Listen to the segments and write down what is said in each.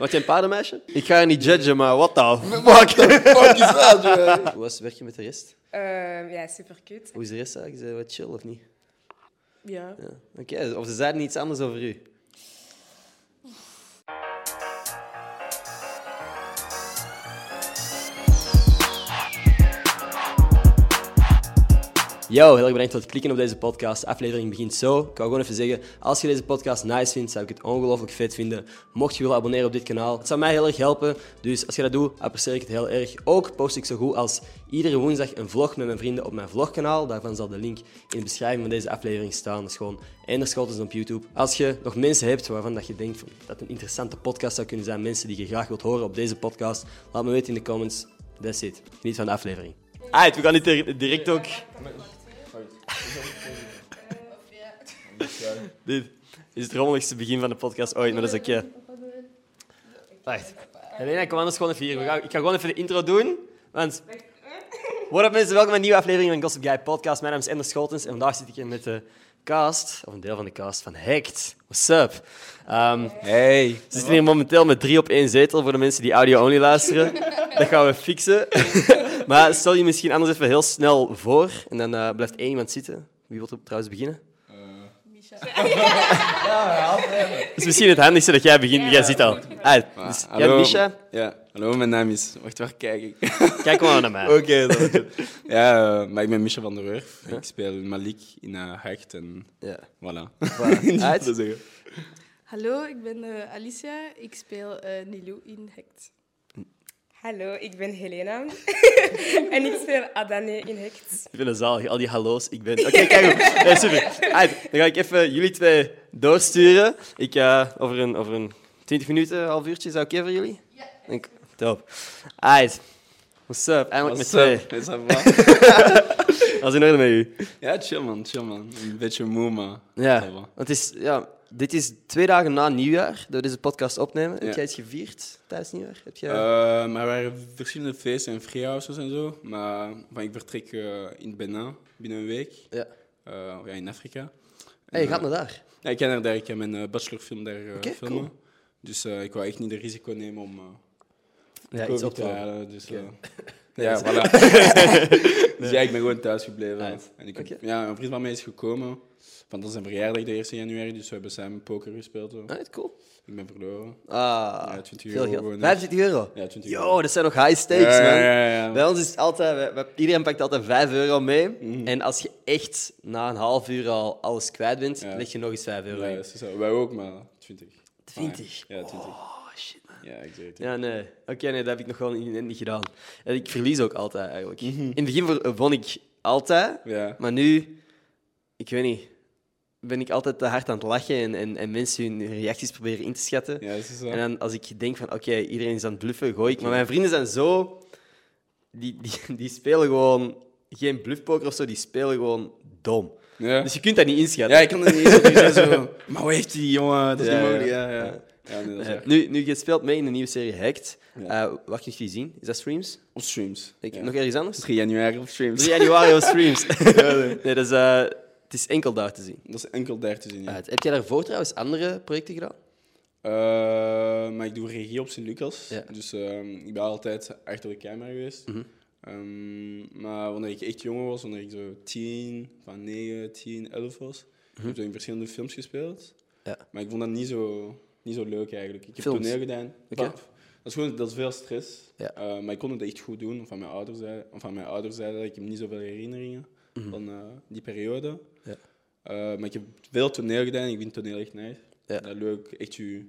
Was jij een paardenmeisje? Ik ga je niet judgen, maar what the What the fuck is dat, joh? Hoe was het werken met de rest? Ehm, ja, super cute. Hoe is de rest eigenlijk? Is dat wat chill of niet? Ja. Ja. Oké, of ze zeiden iets anders over u? Yo, heel erg bedankt voor het klikken op deze podcast. De aflevering begint zo. Ik wou gewoon even zeggen, als je deze podcast nice vindt, zou ik het ongelooflijk vet vinden. Mocht je willen abonneren op dit kanaal, het zou mij heel erg helpen. Dus als je dat doet, apprecieer ik het heel erg. Ook post ik zo goed als iedere woensdag een vlog met mijn vrienden op mijn vlogkanaal. Daarvan zal de link in de beschrijving van deze aflevering staan. Dat is gewoon Ender Scholtens op YouTube. Als je nog mensen hebt waarvan dat je denkt van, dat een interessante podcast zou kunnen zijn, mensen die je graag wilt horen op deze podcast, laat me weten in de comments. That's it. Geniet van de aflevering. Uit, we gaan niet dir- direct ook... Dit is het rommeligste begin van de podcast ooit, maar dat is oké. Wacht. Helena, kom anders gewoon even hier. We gaan, ik ga gewoon even de intro doen. Want... What up mensen, welkom bij een nieuwe aflevering van Gossip Guy Podcast. Mijn naam is Ender Scholtens en vandaag zit ik hier met de cast, of een deel van de cast, van Hacked. What's up? Ehm, Hey. we zitten hier momenteel met drie op één zetel voor de mensen die audio-only luisteren. Dat gaan we fixen. maar stel je misschien anders even heel snel voor en dan eh, blijft één iemand zitten. Wie wil er trouwens beginnen? Het is misschien het handigste dat jij begint, jij zit al. Ah, dus, jij bent Misha, Ja, hallo, mijn naam is... Wacht, waar kijk ik? kijk maar naar mij. Oké, dat is goed. Ja, eh, maar ik ben Misha van der Werf. Ik speel Malik in eh Hecht en Ja. voilà. Voilà. Uit. Dat zeggen. Hallo, ik ben eh, Alicia. Ik speel eh Nilou in Hect. Hallo, ik ben Helena. en ik speel Adane in Hekt. Ik vind het zalig, al die hallo's, ik ben... Oké, kijk goed. Nee, super. Uit, dan ga ik even jullie twee doorsturen. Ik, eh, over, een, over een 20 minuten, half uurtje, is dat oké voor jullie? Ja. top. Uit. What's up? Eindelijk met twee. What's up? Is dat wat? Als in orde met u. Ja, chill man, chill man. Een beetje moe, maar... Ja, dat want wel. het is, ja, dit is twee dagen na nieuwjaar, dat we deze podcast opnemen. Heb Ja. jij iets gevierd tijdens nieuwjaar? Heb jij... Eh, maar er waren verschillende feesten en freehouses en zo. Maar van, ik vertrek eh, in Benin binnen een week. Ja. Eh, ja, in Afrika. hey, je En, gaat eh, naar daar. Ja, ik ga naar daar. Ik ga mijn eh, bachelorfilm daar eh, Oké, filmen. Dus eh, ik wou echt niet de risico nemen om eh Ja, COVID iets op te te halen. halen. Dus, Oké. eh, ja, voilà. dus ja, ik ben gewoon thuis gebleven. Right. En ik heb- Oké. ja, een vriend van mij is gekomen. Want dat is een verjaardag de 1 januari, dus we hebben samen poker gespeeld. hoor. Alright, cool. Ik ben verloren. Ah, Ja, veel 20 euro geld. gewoon, hè. 25 euro? Ja, 20 Yo, euro. dat zijn nog high stakes, Ja, man. ja, ja, ja. Bij ons is het altijd... we- we- iedereen pakt altijd 5 euro mee. Mhm. En als je echt na een half uur al alles kwijt bent, Ja. leg je nog eens 5 euro Ja, in. dat is zo. Wij ook, maar 20. 20? Ja, 20. Oh, shit, man. Ja, exact. Ja, nee. Oké, nee, dat heb ik nog wel niet, net niet gedaan. En ik verlies ook altijd, eigenlijk. In het begin ver- won ik altijd. Mhm. Ja. Maar nu... Ik weet niet. Ben ik altijd te hard aan het lachen en, en, en mensen hun reacties proberen in te schatten. Ja, dat is zo. En dan als ik denk van, oké, iedereen is aan het bluffen, gooi ik. Maar mijn vrienden zijn zo... Die, die, die spelen gewoon geen bluffpoker of zo, die spelen gewoon dom. Ja. Dus je kunt dat niet inschatten. ja, ik kan het niet eens op die zin zo. Maar hoe heeft die jongen? Dat is Ja, niet ja. mogelijk. Ja, ja. ja nee, dat is Eh, waar. nu, nu, je speelt mee in de nieuwe serie Hacked. Ja. Eh, wat kun je die zien? Is dat streams? Op streams. Ik, Ja. Nog ergens anders? 3 januari op streams. 3 januari op streams. nee, dat is, eh, het is enkel daar te zien. Dat is enkel daar te zien. ja. Uit. Heb jij daarvoor trouwens andere projecten gedaan? Eh, maar ik doe regie op Sint-Lucas. Ja. Mhm. Dus ehm, ik ben altijd achter de camera geweest. Ehm, maar wanneer ik echt jonger was, wanneer ik zo 10, van 9, 10, 11 was, heb ik zo in verschillende films gespeeld. Mhm. Ja. Maar ik vond dat niet zo, niet zo leuk eigenlijk. Ik heb Films? toneel gedaan. Oké. Maar Dat is, gewoon, dat is veel stress. Ja. Eh, maar ik kon het echt goed doen. Van mijn ouders zeiden, van mijn ouders zeiden dat ik heb niet zoveel herinneringen Mhm. van eh, die periode. Ja. Eh, maar ik heb veel toneel gedaan en ik vind toneel echt nice. Ja. Dat leuk, echt je,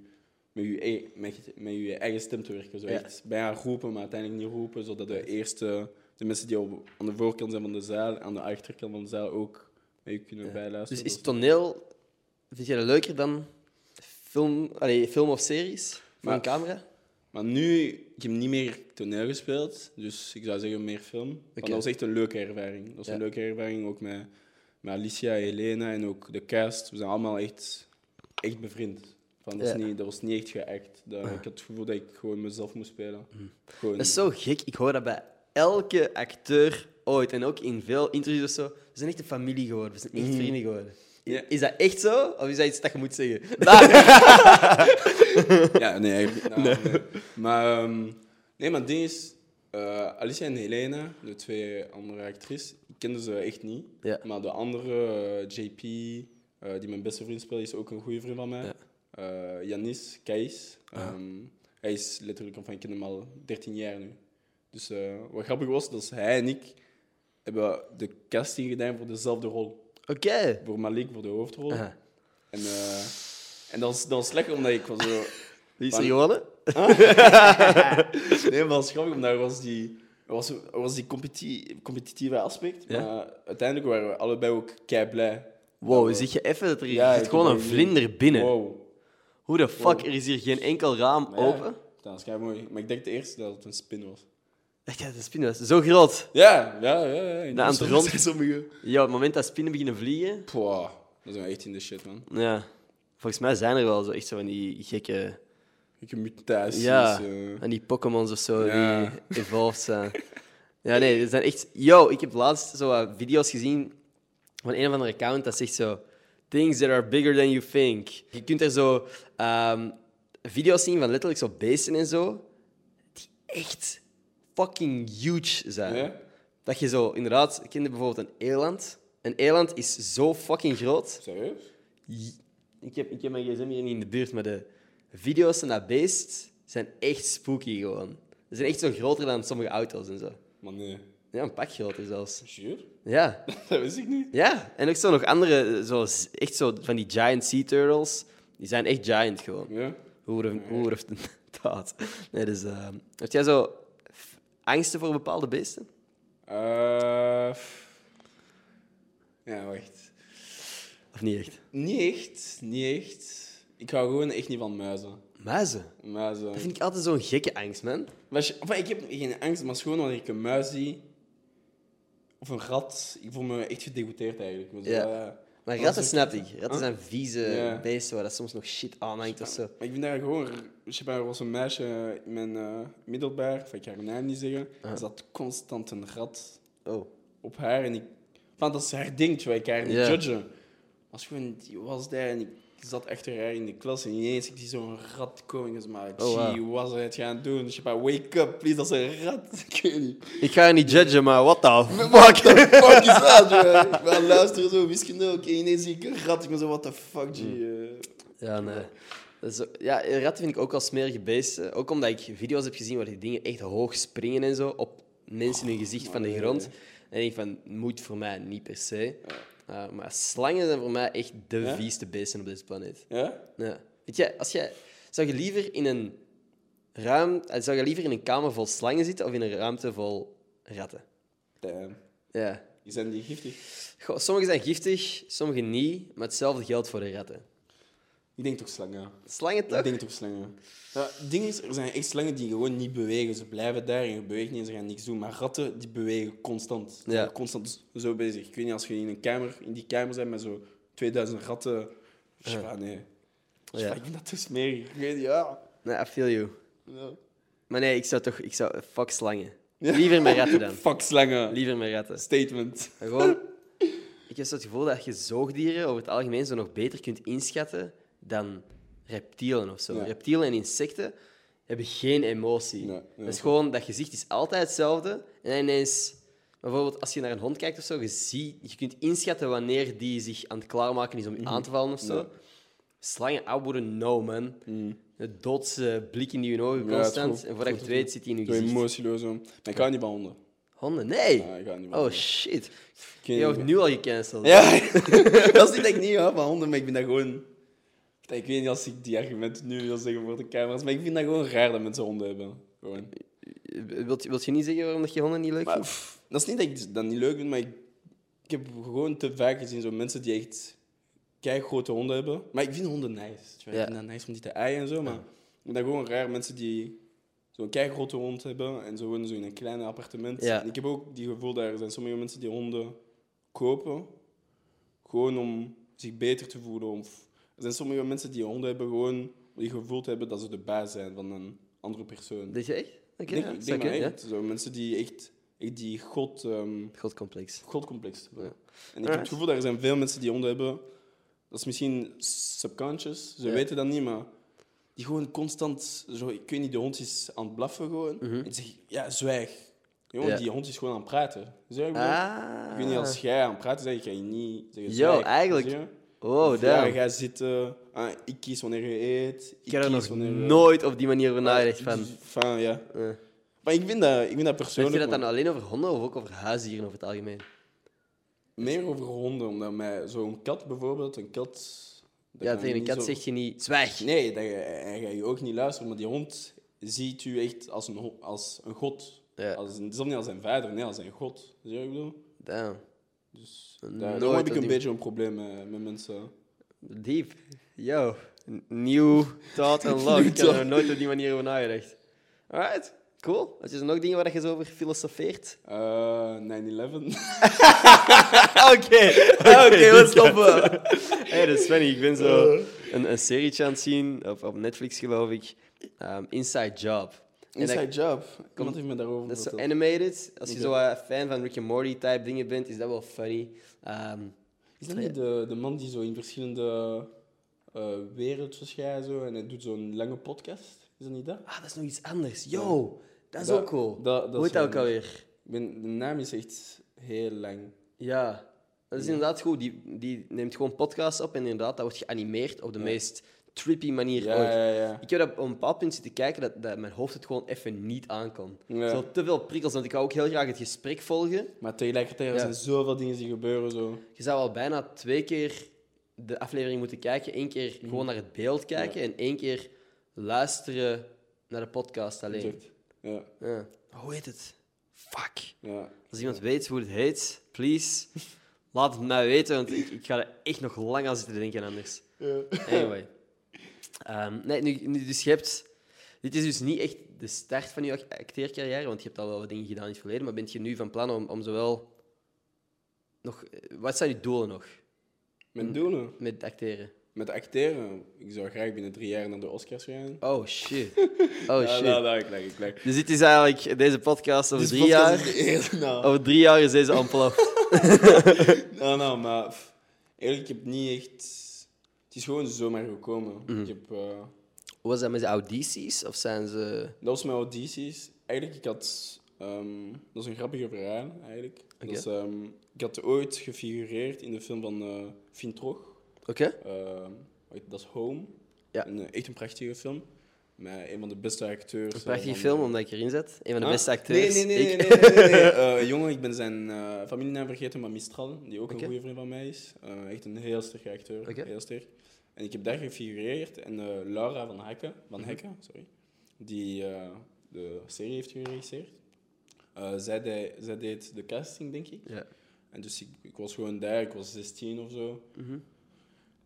met, je, ei- met, je- met je eigen stem te werken. Zo Ja. echt bijna roepen, maar uiteindelijk niet roepen. Zodat de eerste, de mensen die op, aan de voorkant zijn van de zaal, aan de achterkant van de zaal ook met je kunnen Dus bijluisteren. is Dat toneel, vind jij dat leuker dan film, allee, film of series? Voor Maar- een camera? Maar nu, ik heb niet meer toneel gespeeld, dus ik zou zeggen meer film. Want Oké. dat was echt een leuke ervaring. Dat was Ja. een leuke ervaring, ook met, met Alicia, Helena en ook de cast. We zijn allemaal echt, echt bevriend. Van, dat, is Ja. niet, dat was niet echt geact. Dat, Ik had het gevoel dat ik gewoon mezelf moest spelen. Gewoon, Mm. Dat is zo gek. Ik hoor dat bij Mhm. elke acteur ooit. En ook in veel interviews of zo. We zijn echt een familie geworden. We zijn echt vrienden geworden. Ja. Is dat echt zo? Of is dat iets dat je moet zeggen? Daar. Ja, nee, eigenlijk niet. Nou, nee. Maar, ehm, nee, maar het ding is, eh, Alicia en Helena, de twee andere actrices, ik kende ze echt niet. Ja. Maar de andere, eh, JP, eh, die mijn beste vriend speelt, is ook een goede vriend van mij. Ja. Ah. Eh, Janis, Keis. Ehm, hij is letterlijk, van, ik ken hem al 13 jaar nu. Dus eh, wat grappig was, dat hij en ik hebben de casting gedaan voor dezelfde rol. Oké. Voor Malik, voor de hoofdrol. Aha. En, eh, en dat, was, dat was lekker, omdat ik was zo... Wie is Van- er gewonnen? Nee, maar dat is grappig, omdat er was die, er was, er was die competi- competitieve aspect. Ja. Maar uiteindelijk waren we allebei ook kei blij. Wow, zie je even dat er hier Ja, zit ik gewoon heb een ook- vlinder binnen. Wow. Hoe de fuck, Wow. er is hier geen enkel raam Maar ja, open. Dat is kei mooi. Maar ik denk het eerst dat het een spin was. Echt, ja, de spin was zo groot. Ja, ja, ja. ja. Nou, aan het Soms rond- zijn sommige. Ja, op het moment dat spinnen beginnen vliegen... Pwah, dat zijn we echt in de shit, man. Ja. Volgens mij zijn er wel zo echt zo van die gekke... Ik heb mutaties. Ja, eh. en die Pokémons of zo Ja. die evolved zijn. Ja, nee, er zijn echt... Yo, ik heb laatst zo wat video's gezien van een of andere account dat zegt zo... Things that are bigger than you think. Je kunt er zo ehm, video's zien van letterlijk zo beesten en zo, die echt fucking huge zijn. Ja? Dat je zo, inderdaad, ik kende bijvoorbeeld een eland. Een eland is zo fucking groot. Serieus? J- Ik heb, ik heb mijn gsm hier niet in de buurt, maar de video's van dat beest zijn echt spooky gewoon. Ze zijn echt zo groter dan sommige auto's en zo. Maar nee. Ja, een pak groter zelfs. Sure? Ja, dat wist ik niet. ja. En ook zo nog andere, eh, zo, z- echt zo van die giant sea turtles. Die zijn echt giant gewoon. Ja? Hoe of- hoe of dat? Nee, dus... eh, heb jij zo f- angsten voor bepaalde beesten? Eh, pff. ja, wacht. Of niet echt? Niet echt, niet echt. Ik hou gewoon echt niet van muizen. Muizen. Muizen. Dat vind ik altijd zo'n gekke angst, man. Maar je- enfin, ik heb geen angst, maar het is gewoon wanneer ik een muis zie of een rat, ik voel me echt gedegouteerd eigenlijk. Dus, Maar zo, Ja. ja. Maar dat ratten is snap ik. Ratten zijn vieze Ja. beesten waar dat soms nog shit aan hangt of zo. eh, Maar ik vind daar gewoon, ik heb daar was een meisje in mijn eh, middelbaar, of ik ga haar naam niet zeggen, er zat constant een rat Oh. op haar en ik, van dat is haar ding, terwijl ik haar niet Ja. judgen. Als gewoon, die was daar en ik zat achter haar in de klas en ineens ik zie zo'n rat komen en ze maar, Oh, wow. gee, wat is het gaan doen? Dus je maar, wake up, please, dat is een rat. ik weet niet. Ik ga je niet judgen, maar what the Fuck, the fuck is dat, joh? Ik ben luisteren zo, wiskunde, oké, ineens zie ik een rat. Ik ben zo, what the fuck, G. Hmm. eh. Ja, nee. Dat is zo- ja, ratten vind ik ook wel smerige beesten. Ook omdat ik video's heb gezien waar die dingen echt hoog springen en zo op mensen in hun gezicht van de Oh, nee. grond. En ik denk van, moet voor mij niet per se. Uh, maar slangen zijn voor mij echt de Ja? vieste beesten op deze planeet. Ja? Ja. Weet jij, als jij, zou je liever in een ruim, eh, zou je liever in een kamer vol slangen zitten of in een ruimte vol ratten? Damn. Ja. Die zijn die giftig. Goh, sommige zijn giftig, sommige niet, maar hetzelfde geldt voor de ratten. Ik denk toch slangen. Slangen toch? Ik denk toch slangen. Ja, het ding is, er zijn echt slangen die gewoon niet bewegen. Ze blijven daar en je beweegt niet en ze gaan niks doen. Maar ratten, die bewegen constant. Ze Ja. zijn constant dus zo bezig. Ik weet niet, als je in een kamer, in die kamer bent met zo 2000 ratten... Ja. nee. Ja. Ja. ik vind dat te smerig. Ik weet niet, ja. Nee, I feel you. Ja. Maar nee, ik zou toch... Ik zou, fuck slangen. Liever met ratten dan. Fuck slangen. Liever met ratten. Statement. Maar Gewoon, ik heb zo het gevoel dat je zoogdieren over het algemeen zo nog beter kunt inschatten dan reptielen of zo. Ja. Reptielen en insecten hebben geen emotie. Nee, nee, dat is oké. gewoon, dat gezicht is altijd hetzelfde. En ineens, bijvoorbeeld als je naar een hond kijkt of zo, je, ziet, je kunt inschatten wanneer die zich aan het klaarmaken is om je aan te vallen of zo. Mhm. Ja. Mhm. Slangen, ah, I wouldn't know, man. De doodse blik in je ogen Ja, het constant. klopt. en voordat je het weet, zit die in je Zo gezicht. emotieloos. hoor. Maar ik hou niet van honden. Honden, nee! Ja, ik hou niet van oh honden. shit. Ik weet Je niet. wordt nu al gecanceld. Ja, dat is niet dat ik niet hou van honden, maar ik vind dat gewoon... Ik weet niet als ik die argumenten nu wil zeggen voor de camera's, maar ik vind dat gewoon raar dat mensen honden hebben. Gewoon. Eh, Wilt, wilt je niet zeggen waarom dat je honden niet leuk Maar, vindt? pff, dat is niet dat ik dat niet leuk vind, maar ik, ik heb gewoon te vaak gezien zo mensen die echt kei grote honden hebben. Maar ik vind honden nice. weet je Ja. wel. Ik vind dat nice om die te aaien en zo, maar ik vind dat gewoon raar. Mensen die zo'n kei grote hond hebben en ze wonen zo in een klein appartement. Ja. En ik heb ook die gevoel dat er zijn sommige mensen die honden kopen gewoon om zich beter te voelen. Of, er zijn sommige mensen die honden hebben gewoon om die gevoel te hebben dat ze de baas zijn van een andere persoon. Dat je echt? Oké, Ik denk, ja, ik zou denk maar kunnen, echt. Zo, mensen die echt, echt die god, ehm ja. Godcomplex. godcomplex hebben. Ja. En ik heb het gevoel dat er zijn veel mensen die honden hebben Dat is misschien subconscious, ze Ja. weten dat niet, maar die gewoon constant, zo, ik weet niet, de hond is aan het blaffen gewoon. En die zegt, ja, zwijg. Jongen, Mhm. Ja. die hond is gewoon aan het praten. Zeg ik bedoel? Ah. Ik weet niet, als jij aan het praten bent, ga je niet zeggen Yo, zwijg. eigenlijk. Zeg je? Oh, Of ja, damn. jij zit, eh, ah, ik kies wanneer je eet. Ik heb er kies nog wanneer- nooit op die manier over nagedacht Ah, van... dus- Van, ja. Eh. Maar ik vind dat, ik vind dat Zeg persoonlijk je dat dan man. alleen over honden of ook over huisdieren over het algemeen? meer over honden, omdat mij zo'n kat bijvoorbeeld, een kat... dat ja, kan tegen een niet kat zo- zeg je niet... Zwijg! Nee, dat, hij gaat je ook niet luisteren, maar die hond ziet u echt als een, ho- als een god. Ja. Als, een- het is ook niet als zijn vader, nee, als zijn god. Zie je wat ik bedoel? Damn. Dus Nooit daar, daarom heb op ik een die- beetje een probleem eh, met mensen. Diep. Yo. N- Nieuw thought and love. Ik heb er thought. nooit op die manier over nagedacht. Alright. Cool. Wat is er nog dingen waar je zo over filosofeert? Eh, 9-11. Oké. Oké, we stoppen. hey, dat is funny. Ik ben zo Eh. een, een serietje aan het zien, op, op Netflix geloof ik. Ehm, Inside Job. En dat- Inside Job. Iemand heeft me daarover Dat is zo verteld. animated. Als je Oké. zo eh, fan van Rick and Morty type dingen bent, is dat wel funny. Ehm, Is dat niet de, de man die zo in verschillende eh werelden verschijnt zo, en hij doet zo'n lange podcast? Is dat niet dat? ah, dat is nog iets anders. Yo, dat is Dat- ook cool. dat- dat Hoe is heet dat ook wel alweer? Ik ben, de naam is echt heel lang. Ja, dat is inderdaad goed. Die, die neemt gewoon podcasts op en inderdaad, dat wordt geanimeerd op de meest trippy manier Ja, ooit. ja, ja. Ik heb dat op een bepaald punt zitten kijken dat, dat mijn hoofd het gewoon even niet aankwam. Ja. Zo te veel prikkels, want ik wou ook heel graag het gesprek volgen. Maar tegelijkertijd er Ja. zijn zoveel dingen die gebeuren zo. Je zou al bijna twee keer de aflevering moeten kijken. Eén keer Mhm. gewoon naar het beeld kijken en één keer luisteren naar de podcast alleen. Exact. Ja, Ja. Hoe heet het? Fuck. ja. Als iemand weet hoe het heet, please, laat het mij weten, want ik, ik ga er echt nog lang aan zitten denken anders. Anyway. Ehm, nee, nu, nu, dus je hebt... Dit is dus niet echt de start van je act- acteercarrière, want je hebt al wel wat dingen gedaan in het verleden, maar bent je nu van plan om, om zowel... Nog, eh, wat zijn je doelen nog Met doen, met acteren? met acteren. Ik zou graag binnen drie jaar naar de Oscars gaan. Oh shit. Oh Ja, shit. nou, nou, ik leg, ik leg. Dus dit is eigenlijk deze podcast over drie jaar. nou, Over drie jaar is deze ontploft. nou, nou, maar pff, eigenlijk, ik heb niet echt... Het is gewoon zomaar gekomen. Ik heb... eh, Was dat met de audities of zijn ze. Dat was mijn audities. Eigenlijk, ik had... ehm, dat is een grappige verhaal, eigenlijk. Oké. Dat is, ehm, ik had ooit gefigureerd in de film van eh Fintrog. Oké? Eh, dat is Home. Ja. Een, eh, echt een prachtige film. Met een van de beste acteurs. Een eh, prachtige van- film omdat ik erin zet. Een van de Ah? beste acteurs. Nee, nee, nee. Ik- nee, nee, nee, nee. Eh, jongen, ik ben zijn eh, familienaam vergeten, maar Mistral, die ook Oké. een goede vriend van mij is. Eh, echt een heel sterke acteur. Oké. Heel sterk. En ik heb daar gefigureerd. En eh, Laura van Hekken, van Mhm. Hekken sorry, die eh, de serie heeft geregisseerd. Eh, zij, de- zij deed de casting, denk ik. Ja. En dus ik, ik was gewoon daar, ik was 16 of zo. Mhm.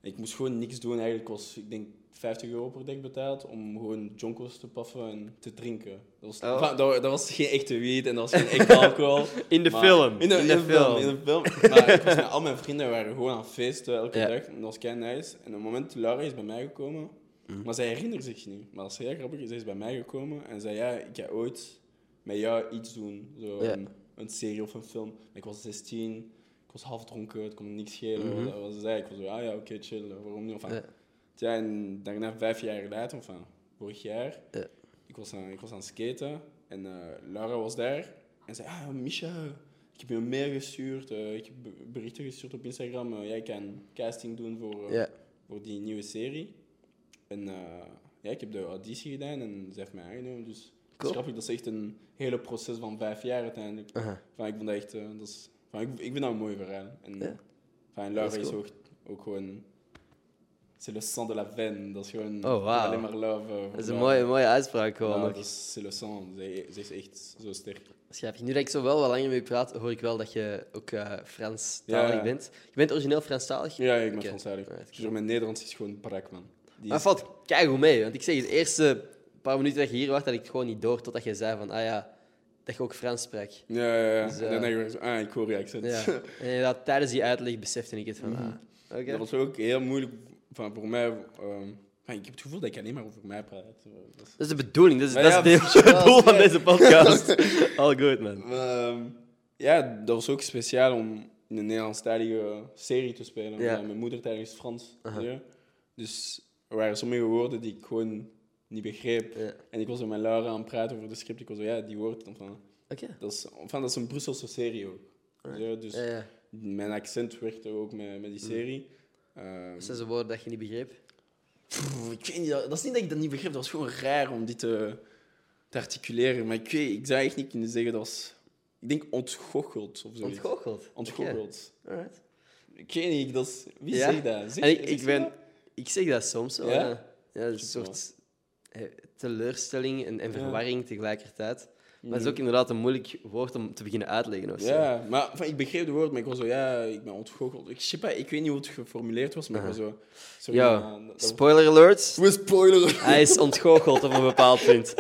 Ik moest gewoon niks doen. Eigenlijk was, ik denk, 50 euro per dag betaald om gewoon jonkos te paffen en te drinken. Dat was, Oh. enfin, dat, dat was geen echte weed en dat was geen echte alcohol. In de Maar- film. In de, in de film. In de film. Maar ik was met al mijn vrienden, we waren gewoon aan het feesten elke Ja. dag. En dat was kei nice. En op het moment, Laura is bij mij gekomen. Mhm. Maar zij herinnert zich niet. Maar dat is heel grappig. Zij is bij mij gekomen en zei, ja, ik ga ooit met jou iets doen. Zo, Ja. een, een serie of een film. En ik was 16, ik was half dronken, het kon me niks schelen. Mhm. Dat was zij. Ik was zo, ah ja, oké, chill, waarom niet? Enfin, Ja. Tja, en daarna, vijf jaar later, of enfin, vorig jaar, Ja. ik, was aan, ik was aan het skaten en eh, Laura was daar en zei: Ah, Misha, ik heb je een mail gestuurd, eh, ik heb be- berichten gestuurd op Instagram, eh, jij kan casting doen voor, eh, Ja. voor die nieuwe serie. En eh, ja, ik heb de auditie gedaan en ze heeft mij aangenomen. Dus het is Cool. grappig, dat is echt een hele proces van vijf jaar uiteindelijk. Aha. Enfin, ik vond dat echt, eh, dat is, enfin, ik, ik vind dat een mooi verhaal. En, Ja. enfin, Laura Dat is, is cool. ook, ook gewoon. C'est le sang de la veine. Dat is gewoon Oh, wauw. alleen maar love. eh, voor Dat is een Laura. mooie, mooie uitspraak Ja, gewoon. nog. dat is c'est le sang. Zij, zij is echt zo sterk. Schrijf. Nu dat ik zo wel wat langer mee praat, hoor ik wel dat je ook eh Franstalig Ja. bent. Je bent origineel Franstalig. Ja, ik ben Oké. Fransalig. Alright, Ah, Dus mijn Nederlands is gewoon brak, man. Die Maar is- het valt keigoed mee, want ik zeg het eerste paar minuten dat je hier was, dat ik het gewoon niet door, totdat je zei van, ah ja, dat je ook Frans sprak. Ja, ja, ja. Dus, En dan denk ik weer zo, ah, ik hoor je accent. Ja. En inderdaad, tijdens die uitleg besefte ik het Mhm. van, ah, oké. Dat was ook heel moeilijk van, voor mij. ehm, maar ik heb het gevoel dat ik alleen maar over mij praat. Dat is- Dat is de bedoeling, dat is, Maar dat ja, is het hele doel van deze podcast. All good, man. Maar, ehm, ja, dat was ook speciaal om, in een Nederlandstalige serie te spelen. Ja. omdat Mijn moedertaal is Frans. Aha. ja. Dus er waren sommige woorden die ik gewoon niet begreep. Ja. En ik was met Laura aan het praten over de script. Ik was zo, ja, die woord. dan Van, Oké. dat, is, enfin, dat is een Brusselse serie ook. Ja, Mm. dus Ja, ja. mijn accent werkte ook met, met die serie. Ehm, Dat zijn zo woorden dat je niet begreep. Pff, ik weet niet, dat dat is niet dat ik dat niet begreep. Dat was gewoon raar om dit te, te articuleren. Maar ik, weet, ik zou echt niet kunnen zeggen dat was... Ik denk ontgoocheld of zoiets. Ontgoocheld. Ontgoocheld. Oké, alright. Ik weet niet, dat is... Wie Ja. zegt dat? Zeg- En ik, zeg ik, je ben, dat? ik zeg dat soms wel. Ja? Ja? Ja, dat is een soort eh, teleurstelling en, en Ja. Mhm. verwarring tegelijkertijd. Maar het is ook inderdaad een moeilijk woord om te beginnen uitleggen. Of zo. Ja, maar enfin, ik begreep de woord, maar ik was zo... Ja, ik ben ontgoocheld. Ik, weet niet, ik weet niet hoe het geformuleerd was, maar ik was zo... Sorry, Ja. maar dat- dat- Spoiler alert. We spoileren! Hij is ontgoocheld op een bepaald punt.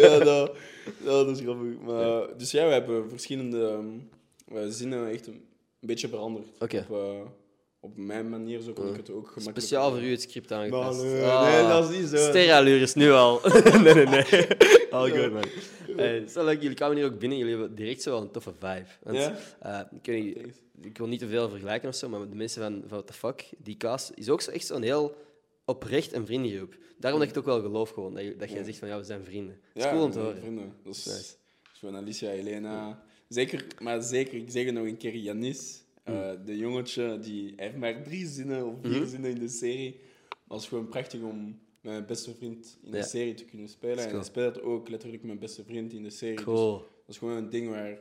ja, dat, ja, dat is grappig. Maar, Dus ja, we hebben verschillende ehm, eh, zinnen echt een beetje veranderd. Oké. Op, eh, op mijn manier, zo kon ik het ook gemakkelijk... Speciaal voor u het script aangepast. nee, Ah. nee, dat is niet zo. Sterralure is nu al. nee, nee, nee. All good, man. Hey, stel dat jullie kwamen hier ook binnen, jullie hebben direct zo wel een toffe vibe. Want, Ja? eh, ik, weet niet, Thanks. ik wil niet te veel vergelijken of zo, maar de mensen van, van What the Fuck, die cast, is ook zo echt zo'n heel oprecht en vriendengroep. Daarom dat ik het ook wel geloof gewoon, dat, je- dat jij Ja. zegt van ja, we zijn vrienden. Dat is Ja, cool om te mijn horen. Vrienden. Dat is, Nice. is van Alicia, Elena. Zeker, maar zeker, ik zeg het nog een keer, Janis. eh, Hmm. de jongetje, die hij heeft maar drie zinnen of vier zinnen in de serie. Maar het is gewoon prachtig om met mijn beste vriend in Ja. de serie te kunnen spelen. En cool. hij speelt ook letterlijk mijn beste vriend in de serie. Dus Cool. Dat is gewoon een ding waar.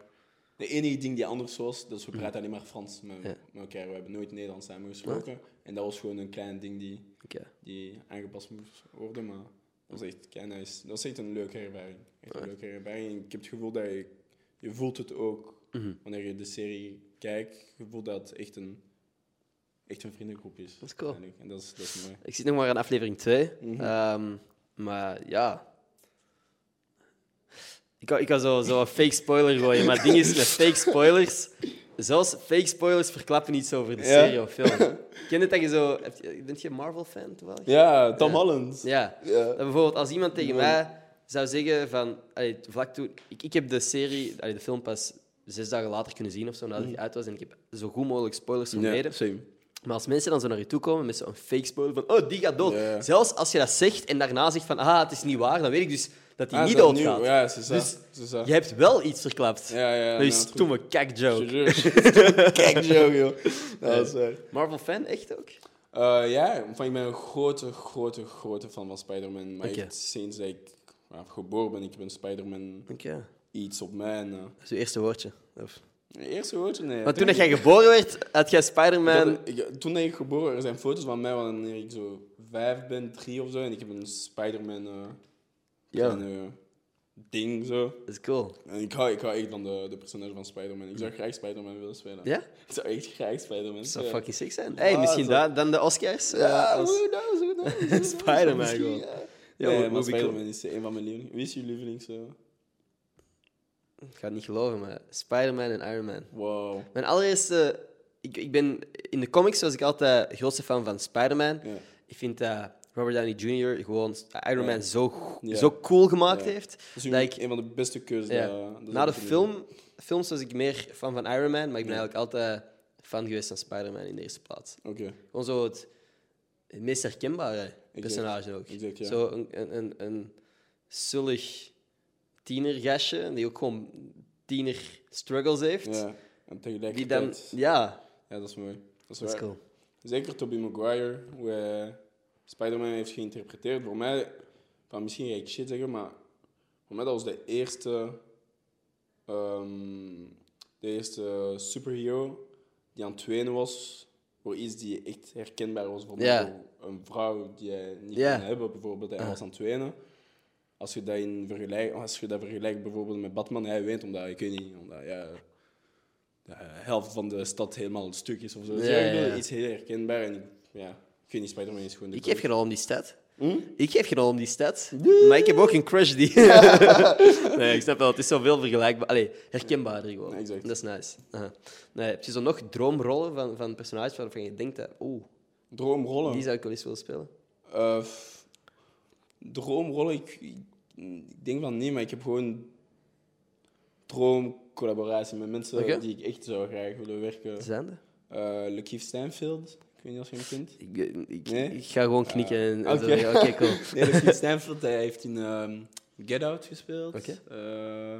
De enige ding die anders was, dat is we praten alleen maar Frans met, Hmm. Ja. Ah. met elkaar. We hebben nooit Nederlands samen gesproken. En dat was gewoon een klein ding die, Oké. die aangepast moest worden. Maar dat was echt, kei nice. dat was echt een leuke ervaring. Echt een leuke ervaring. Ik heb het gevoel dat je, je voelt het ook Mhm. wanneer je de serie kijkt. Je voelt dat het echt een, echt een vriendengroep is. Dat is cool. uiteindelijk. En dat is, dat is mooi. Ik zit nog maar aan aflevering 2. Mhm. Ehm, maar ja. Ik kan, ik kan zo, zo een fake spoiler gooien, maar het ding is met fake spoilers. Zelfs fake spoilers verklappen iets over de Ja. serie of film. Ken je dat je zo. heb je- Bent je een Marvel-fan toevallig? Ja, Tom Holland. Ja. Ja. Dat bijvoorbeeld als iemand tegen Mooi. mij zou zeggen van... allee, vlak toen, ik, ik heb de serie, allee, de film pas zes dagen later kunnen zien of zo, Mhm. nadat hij uit was. En ik heb zo goed mogelijk spoilers vermeden. same. Maar als mensen dan zo naar je toe komen met zo'n fake spoiler van... Oh, die gaat dood. Ja. Zelfs als je dat zegt en daarna zegt van... Ah, het is niet waar. Dan weet ik dus dat hij Ah, niet dat dood nieuw. gaat. Ja, ze zei- Dus ze zei- Je hebt wel iets verklapt. Ja, ja, dat nou, is terug. stomme kakjoke. Kijk, joh, joh. Dat is waar. Marvel-fan, echt ook? Eh, ja, van, ik ben een grote, grote, grote fan van Spider-Man. Maar Oké. echt sinds dat ik ja, geboren ben, ik ben Spider-Man Oké. iets op mijn... eh, Dat is je eerste woordje. Of... eerste woordje, nee. Want toen dat jij geboren werd, had jij Spider-Man... Ik had- ik- toen ik geboren er zijn foto's van mij wanneer ik zo vijf ben, drie of zo. En ik heb een Spider-Man eh, Ja, kleine, eh, ding zo. dat is cool. En ik hou, ik hou echt van de, de personage van Spider-Man. Ik zou graag Spider-Man willen spelen. Ja? Ik zou echt graag Spider-Man Dat zou spelen. fucking sick zijn. Hey, Ah, misschien zo. da- dan de Oscars. Ja, eh, als- who knows, who knows, who knows. Spider-Man Misschien, gewoon. ja. Ja, nee, hoe- maar hoe- Spider-Man is eh, een van mijn lievelings. Wie is je lievelings? eh? Ik ga het niet geloven, maar Spider-Man en Iron Man. Wow. Mijn allereerste... Ik, ik ben... In de comics was ik altijd de grootste fan van Spider-Man. Ja. Ik vind dat Robert Downey Jr. gewoon Iron Man zo, go- Ja. zo cool gemaakt Ja. heeft. Dat is dat een, ik, een van de beste keuzes. eh, ja. dat- dat Na de ik heb gedaan. film, films was ik meer fan van Iron Man, maar ik ben eigenlijk altijd fan geweest van Spider-Man in de eerste plaats. Oké. Gewoon zo het, het meest herkenbare personage ook. exact, ja. Zo een, een, een, een zullig tienergastje, die ook gewoon tiener struggles heeft. Ja. Die dan, En tegelijkertijd... ja, Ja, dat is mooi. Dat is, dat is waar. cool. Zeker Tobey Maguire, hoe hij Spider-Man heeft geïnterpreteerd. Voor mij, van misschien ga ik shit zeggen, maar voor mij dat was de eerste, ehm, de eerste superhero die aan het wenen was voor iets die echt herkenbaar was voor mij. Ja. Voor een vrouw die hij niet Ja. kon hebben, bijvoorbeeld. Hij was aan het wenen. Als je, dat in vergelijk, als je dat vergelijkt bijvoorbeeld met Batman, hij weent omdat, ik weet niet, omdat ja, de helft van de stad helemaal een stuk is of zo. Ja, Ja, ik bedoel, ja, ja. Iets heel herkenbaar. En ik, ja, ik weet niet, Spider-Man is gewoon de Ik geef goat. geen al om die stad. Hm? Ik geef geen al om die stad. Maar ik heb ook een crush die... nee, ik snap wel. Het is zoveel vergelijkbaar. Allee, herkenbaarder gewoon. Ja, exact. Dat is nice. Aha. Nee, heb je zo nog droomrollen van, van personages waarvan je denkt dat... Oeh, Droomrollen. die zou ik wel eens willen spelen? Eh, f- droomrollen, ik, ik- ik denk van nee, maar ik heb gewoon droom collaboratie met mensen Oké. die ik echt zou graag willen werken. Zijn er? Eh Lakeith Stanfield, ik weet niet of je hem kent. Ik, eh, ik, Nee? ik ga gewoon knikken. en- en Ah, zo zeggen, Oké, cool. Nee, Lakeith Stanfield, hij heeft in ehm, Get Out gespeeld. Oké. Eh,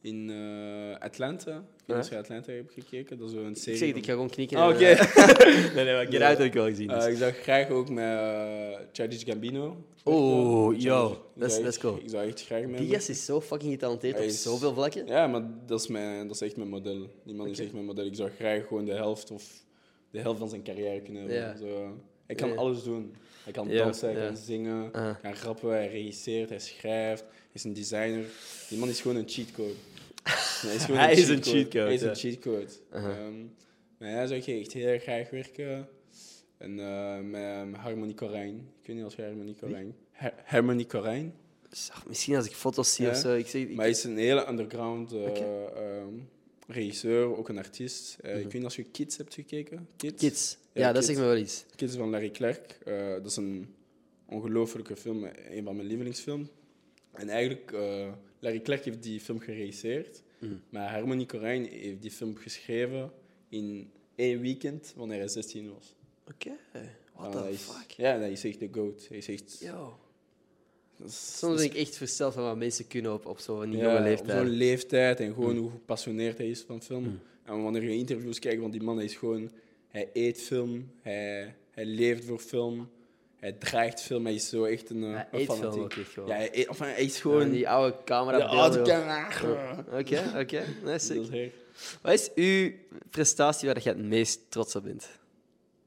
in eh, Atlanta. Ik weet niet of je Atlanta hebt gekeken. Dat is zo'n serie. Ik zeg het, van- ik ga gewoon knikken. Ah, en, oké. eh, nee, nee, maar Get Out heb ik wel gezien. dus. Eh, ik zou graag ook met eh Childish Gambino. Oh, Childish- yo, ik dat is- zou dat is echt- cool. Ik zou echt graag met die hem- gast is zo fucking getalenteerd op Hij is- zoveel vlakken. Ja, maar dat is, mijn, dat is echt mijn model. Die man is Oké. echt mijn model. Ik zou graag gewoon de helft of de helft van zijn carrière kunnen hebben. Ja. Zo. Hij kan Ja. alles doen. Hij kan Ja, dansen, hij ja. kan zingen, Ah. hij kan rappen, hij regisseert, hij schrijft, hij is een designer. Die man is gewoon een cheatcode. hij is, gewoon Hij is een cheatcode, Hij is ja. Uh-huh. een cheatcode. Aha. Ehm, maar ja, zou ik echt heel erg graag werken. En eh, met ehm, Harmony Corijn. Ik weet niet of je Harmony Corijn... Her- Harmony Corijn? Zag, Misschien als ik foto's zie Ja. of zo. Ik zeg, ik- Maar hij is een hele underground eh, Oké. Mhm. ehm, regisseur, ook een artiest. Eh, Ik weet niet als je Kids hebt gekeken. Kids, Kids. Ja, Ja, dat Kids. zegt me wel iets. Kids van Larry Clark. Eh, dat is een ongelofelijke film, een van mijn lievelingsfilms. En eigenlijk, eh, Larry Clark heeft die film geregisseerd. Mhm. Maar Harmony Korijn heeft die film geschreven in één weekend, wanneer hij 16 was. Oké. En What the hij is- fuck? Ja, hij is echt de goat. Hij is echt... Yo. dat is- Soms dat is ben ik echt versteld van wat mensen kunnen op, op zo'n Ja, jonge op Zo'n leeftijd. Mm. leeftijd en gewoon hoe gepassioneerd hij is van film. En wanneer je interviews kijkt, want die man hij is gewoon... Hij eet film, hij, hij leeft voor film, hij draagt film. Hij is zo echt een, eh, Hij een eet film fanatiek. ook echt gewoon. Ja, hij eet, enfin, hij is Gewoon gewoon... die oude camera. de oude beelden. camera. Oké, oké. Nee, Dat is sick. hij. Wat is uw prestatie waar je het meest trots op bent?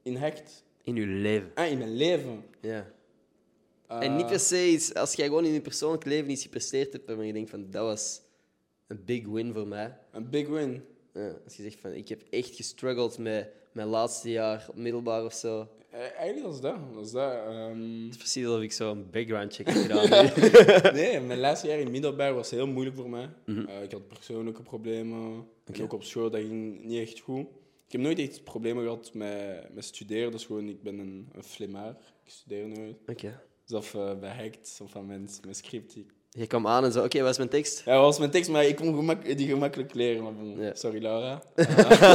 In hect. In uw leven. Ah, in mijn leven. Ja. Eh, En niet per se iets, als jij gewoon in je persoonlijk leven iets gepresteerd hebt waarvan je denkt van dat was een big win voor mij. Een big win. Ja, als je zegt van ik heb echt gestruggeld met mijn laatste jaar op middelbaar of zo. Het Eh, eigenlijk was dat. Was dat ehm, is precies alsof ik zo'n background check heb gedaan. nu. Nee, mijn laatste jaar in middelbaar was heel moeilijk voor mij. Mhm. Eh, ik had persoonlijke problemen. En ook op school, dat ging niet echt goed. Ik heb nooit echt problemen gehad met, met studeren. Dus gewoon, ik ben een, een flemmaar. Ik studeer nooit. Oké. Zelf eh bij Hackt, of aan mijn, mijn script. Ik- Je kwam aan en zo, oké, wat is mijn tekst? Ja, dat was mijn tekst, maar ik kon gemak die gemakkelijk leren. Maar bon, Ja. Sorry, Laura.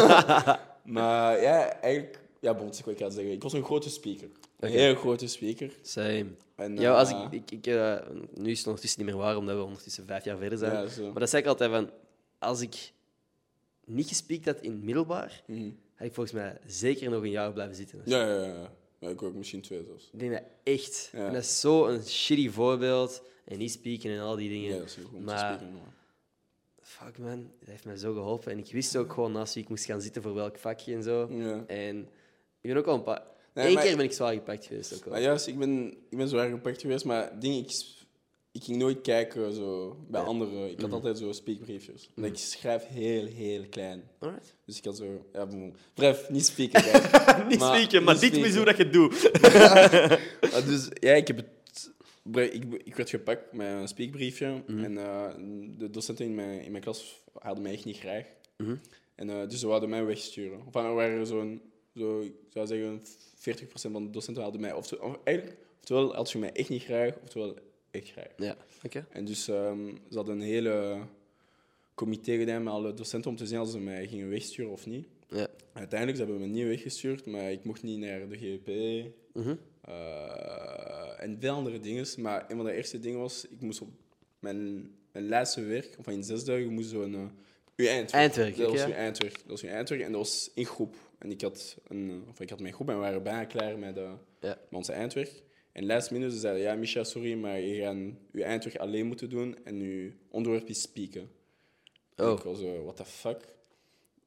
Eh, maar ja, eigenlijk... Ja, bon, ik wil het zeggen. Ik was een grote speaker. Oké. Een heel grote speaker. Same. En, Ja, als eh, ik, ik, ik, eh, nu is het ondertussen niet meer waar, omdat we ondertussen vijf jaar verder zijn. Ja, zo. maar dat zei ik altijd van, als ik niet gespiekt had in het middelbaar, Mhm. had ik volgens mij zeker nog een jaar blijven zitten. Ja, ja, ja. ja. Ik ook misschien twee zelfs. Ik denk dat echt. Ja. En dat is zo'n shitty voorbeeld. En niet spieken en al die dingen. Ja, dat is goed om te maar spieken, maar- fuck man, dat heeft mij zo geholpen. En ik wist ook gewoon naast wie ik moest gaan zitten voor welk vakje en zo. Ja. En ik ben ook al een paar... Mhm. Nee, Eén maar- keer ben ik zwaar gepakt geweest ook al. Maar juist, ik ben, ik ben zo erg gepakt geweest, maar ding, ik, s- ik ging nooit kijken zo, bij anderen. Ik had altijd zo speakbriefjes. Want ik schrijf heel, heel klein. Alright. Dus ik had zo, ja, bon. Bref, niet spieken. guys. Niet Maar- spieken, niet spieken. dat je het doet. Maar dus ja, ik heb het. bre- Ik, ik werd gepakt met een speakbriefje. En eh, de docenten in mijn, in mijn klas hadden mij echt niet graag. En, eh, dus ze wilden mij wegsturen. Of er waren zo'n, zo, ik zou zeggen, 40% van de docenten hadden mij. Of, of eigenlijk, oftewel hadden ze mij echt niet graag, oftewel echt graag. Ja, oké. En dus ehm, ze hadden een hele comité gedaan met alle docenten om te zien als ze mij gingen wegsturen of niet. Ja. Uiteindelijk ze hebben ze me niet weggestuurd, maar ik mocht niet naar de GEP. Mhm. Eh, en veel andere dingen. Maar een van de eerste dingen was, ik moest op mijn, mijn laatste werk, of in zes dagen, moest zo'n... eh, uw eindwerk. Eindwerk, Dat was oké. uw eindwerk. Dat was uw eindwerk en dat was in groep. En ik had, een, eh, of ik had mijn groep en we waren bijna klaar met, eh, Ja. met ons eindwerk. En last minute ze zeiden, ja Micha, sorry, maar je gaat uw eindwerk alleen moeten doen en uw onderwerp is spieken. En Oh. Ik was zo, what the fuck?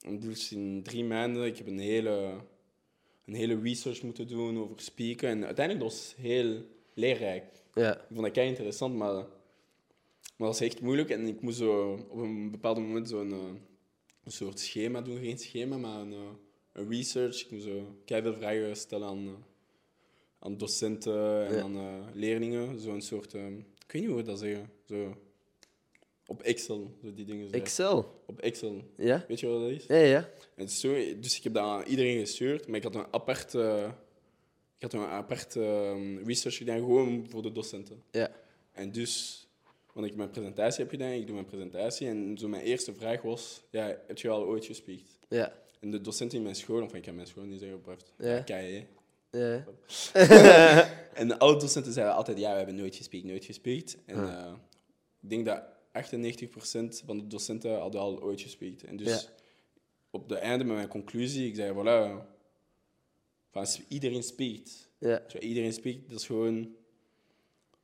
En dus in drie maanden, ik heb een hele, een hele research moeten doen over spieken. En uiteindelijk dat was heel leerrijk. Ja. Ik vond dat kei interessant, maar, maar dat was echt moeilijk. En ik moest zo op een bepaald moment zo'n eh, een soort schema doen. Geen schema, maar een, eh, een research. Ik moest zo kei veel vragen stellen aan, eh, aan docenten en Ja. aan eh, leerlingen. Zo'n soort, eh, ik weet niet hoe we dat zeggen. Zo, op Excel, zo die dingen. Zo. Excel. Op Excel. Ja? Weet je wat dat is? Ja, ja, ja. En het is zo, dus ik heb dat aan iedereen gestuurd, maar ik had een apart, eh, ik ehm, had een apart eh, research gedaan, gewoon voor de docenten. Ja. En dus, Want ik mijn presentatie heb gedaan, ik doe mijn presentatie. En zo mijn eerste vraag was, ja, heb je al ooit gespiekt? Ja. En de docent in mijn school, of ik heb mijn school niet zeggen, blijft. Ja. Ja. Kei, ja. En alle docenten zeiden altijd, ja, we hebben nooit gespiekt, nooit gespiekt. En eh, ik denk dat 98% van de docenten hadden al ooit gespiekt. En dus Ja. op de einde met mijn conclusie, ik zei, voilà, van, s- iedereen spiekt. Ja. Zo, iedereen spiekt, dat is gewoon...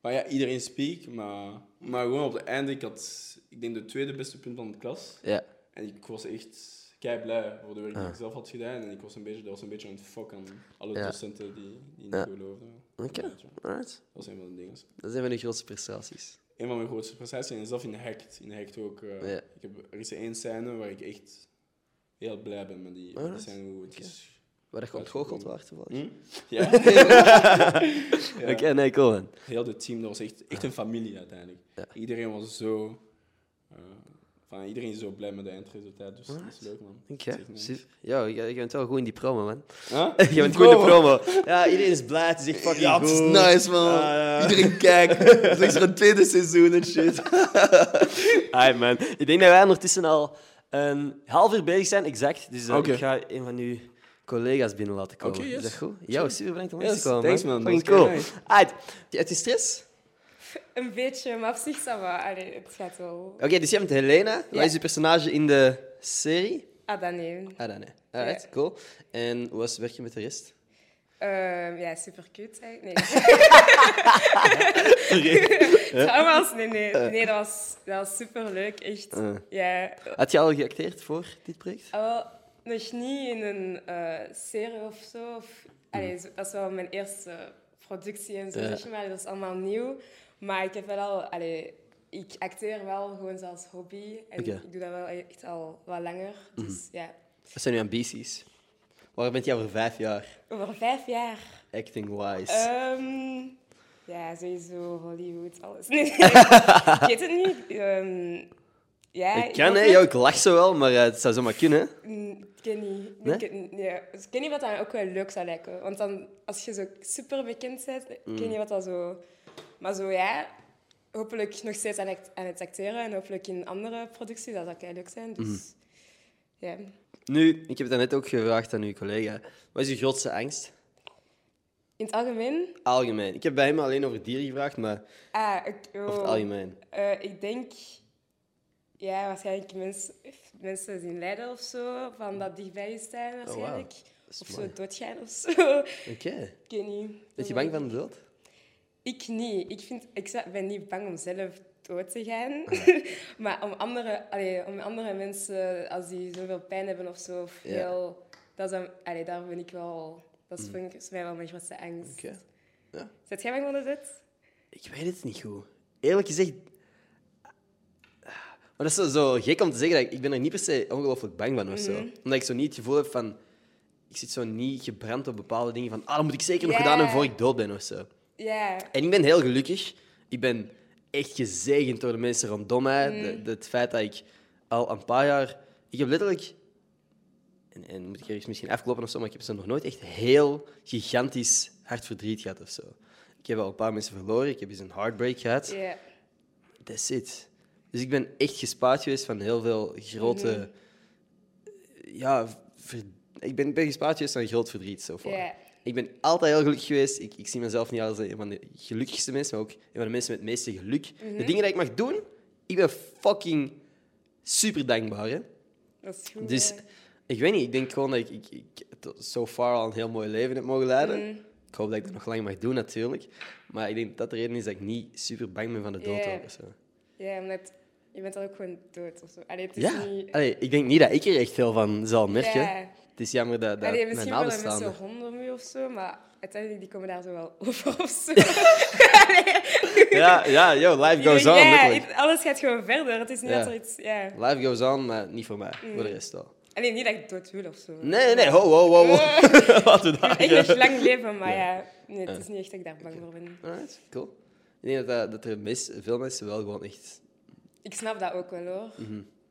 Maar ja, iedereen spiekt, maar, maar gewoon op het einde, ik had, ik denk, de tweede beste punt van de klas. Ja. Ah. En ik was echt kei blij voor de werk die ik zelf had gedaan. En ik was een beetje, dat was een beetje een fuck aan alle Ja. docenten die, die niet Ja. geloofden. Oké. Ja, zo. Alright. Dat is een van de dingen. Dat zijn mijn grootste prestaties. Een van mijn grootste prestaties en zelf in de hacked. In de hacked ook. eh, Ja. ik heb, er is één scène waar ik echt heel blij ben met die, met die Alright. scène. Hoe het is. Waar je ontgoocheld was, toevallig. Hm? Ja. Oké, nee, cool man. Heel het team, dat was echt, echt een familie uiteindelijk. Ja. Iedereen was zo... eh, van, iedereen is zo blij met de eindresultaat, dus dat is leuk man. Oké, Dat is echt nice. super. Ja, je, je bent wel goed in die promo, man. Huh? Je bent goed in de promo. Ja, iedereen is blij, het is echt fucking Ja, goed. het is nice, man. Iedereen kijkt. Het is echt een tweede seizoen en shit. Hi man. Ik denk dat wij ondertussen al een half uur bezig zijn, exact. Dus eh, Oké. ik ga een van uw collega's binnen laten komen. Oké, yes. Is dat goed? Ja, super bedankt om langs Yes, te komen. thanks, man. Fucking Dat was cool. kei nice. Alright. Heb je stress? Een beetje, maar op zich, ça va. Allee, het gaat wel. Oké, dus je hebt Helena. Ja. Wat is je personage in de serie? Adané. Ah, dan nee. Alright, Ja. cool. En hoe was het werken met de rest? Ehm ja, super cute. Nee. Trouwens, nee, nee. Nee, dat was, dat was super leuk. Echt. Eh. Ja. Had je al geacteerd voor dit project? Ah, wel, nog niet in een eh, serie of zo. Hmm. Of, allee, zo- dat is wel mijn eerste productie en zo, Ja. zeg je maar. Dat is allemaal nieuw. Maar ik heb wel al... Allee, ik acteer wel gewoon als hobby. En Oké. Hmm. ik doe dat wel echt al wat langer. Dus ja, Wat zijn uw ambities? Waar bent jij over vijf jaar, over vijf jaar. acting-wise? Ehm, ja, sowieso Hollywood, alles. Nee, ik weet het niet. Ehm, ja, ik kan, hoop hè. dat- Ja, ik lach zo wel, maar eh, het zou zomaar kunnen. hè. Mm, Ik ken niet. Ik Nee? ken- ja. Dus ik ken niet wat dan ook wel leuk zou lijken. Want dan, als je zo super bekend bent, ik Mm. weet niet wat dat zo... Maar zo, ja, hopelijk nog steeds aan het, aan het acteren en hopelijk in andere producties, dat zou kei leuk zijn. Mhm. Dus, ja. Nu, ik heb het daarnet ook gevraagd aan uw collega. Wat is uw grootste angst? In het algemeen... Algemeen. Ik heb bij hem alleen over dieren gevraagd, maar Ah, ik, oh, over het algemeen. eh, ik denk... Ja, waarschijnlijk mens, mensen zien lijden of zo, van dat dichtbij je staan waarschijnlijk. Oh, Dat is Of mooi. zo doodgaan of zo. Oké. ik weet niet. Ben je bang van de dood? Ik niet. Ik, vind, ik zou- ben niet bang om zelf dood te gaan. maar om andere, allee, om andere mensen, als die zoveel pijn hebben of zo, of Ja. veel, dat is dan, allee, daar ben ik wel... Dat is volgens mij wel mijn grootste Mm. angst. Oké. Ja. Zet jij bang van de dood? Ik weet het niet goed. Eerlijk gezegd... Maar dat is zo, zo gek om te zeggen. Dat ik, ik ben er niet per se ongelooflijk bang van of zo. Omdat ik zo niet het gevoel heb van... Ik zit zo niet gebrand op bepaalde dingen van... Ah, dat moet ik zeker nog Ja. gedaan hebben voor ik dood ben of zo. Ja. En ik ben heel gelukkig. Ik ben echt gezegend door de mensen rondom mij. De- Mm. de- het feit dat ik al een paar jaar... Ik heb letterlijk... En, en moet ik ergens misschien afkloppen of zo, maar ik heb zo nog nooit echt heel gigantisch hartverdriet gehad of zo. Ik heb al een paar mensen verloren. Ik heb eens een heartbreak gehad. Ja. That's it. Dus ik ben echt gespaard geweest van heel veel grote... Mhm. Ja, ver- ik ben, ben gespaard geweest van groot verdriet, zo far. Ja. Ik ben altijd heel gelukkig geweest. Ik, ik zie mezelf niet als een van de gelukkigste mensen, maar ook een van de mensen met het meeste geluk. Mhm. De dingen die ik mag doen, ik ben fucking super dankbaar. Hè? Dat is goed. Dus hè. ik weet niet, ik denk gewoon dat ik, ik, ik tot so far al een heel mooi leven heb mogen leiden. Mhm. Mm. Ik hoop dat ik dat nog lang mag doen, natuurlijk. Maar ik denk dat dat de reden is dat ik niet super bang ben van de dood. Ja. ook of zo. Ja, omdat je bent dan ook gewoon dood of zo. Allee, het is Ja, niet... Allee, ik denk niet dat ik er echt veel van zal merken. Ja. Het is jammer dat, dat Allee, mijn misschien worden nabestaanden... mensen rondom je of zo, maar uiteindelijk die komen daar zo wel over of zo. Ja, ja, yo, life goes on, ja, letterlijk. het- alles gaat gewoon verder. Het is niet Ja. dat er iets... Ja. Life goes on, maar niet voor mij. Voor Mm. de rest wel. Alleen niet dat ik dood wil of zo. Nee, nee, nee, ho, ho, ho. ho. Laten we daar Ik gaan. wil echt lang leven, maar ja. Nee, het is niet echt dat ik daar bang voor ben. Alright, cool. Ik denk dat, dat, eh, dat er mis, veel mensen wel gewoon echt... Ik snap dat ook wel hoor.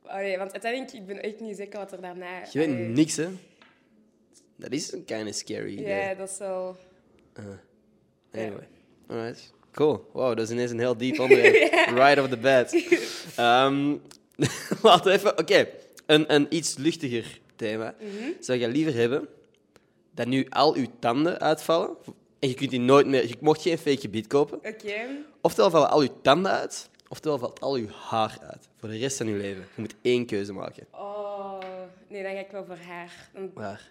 Allee, want uiteindelijk, ik ben echt niet zeker wat er daarna... Mhm. Je weet allee, niks, hè. Dat is een kind of scary idee. Ja, dat is wel... Anyway. Alright. Cool. Wow, dat is ineens een heel diep onderwerp. Right off the bat. Ehm, laten we even... Oké, een, een iets luchtiger thema. Zou jij liever hebben dat nu al uw tanden uitvallen... En je kunt die nooit meer... Je mocht geen fake gebied kopen. Oké. Oftewel vallen al uw tanden uit, oftewel valt al uw haar uit. Voor de rest van uw leven. Je moet één keuze maken. Oh, nee, dan ga ik wel voor haar. Dan Maar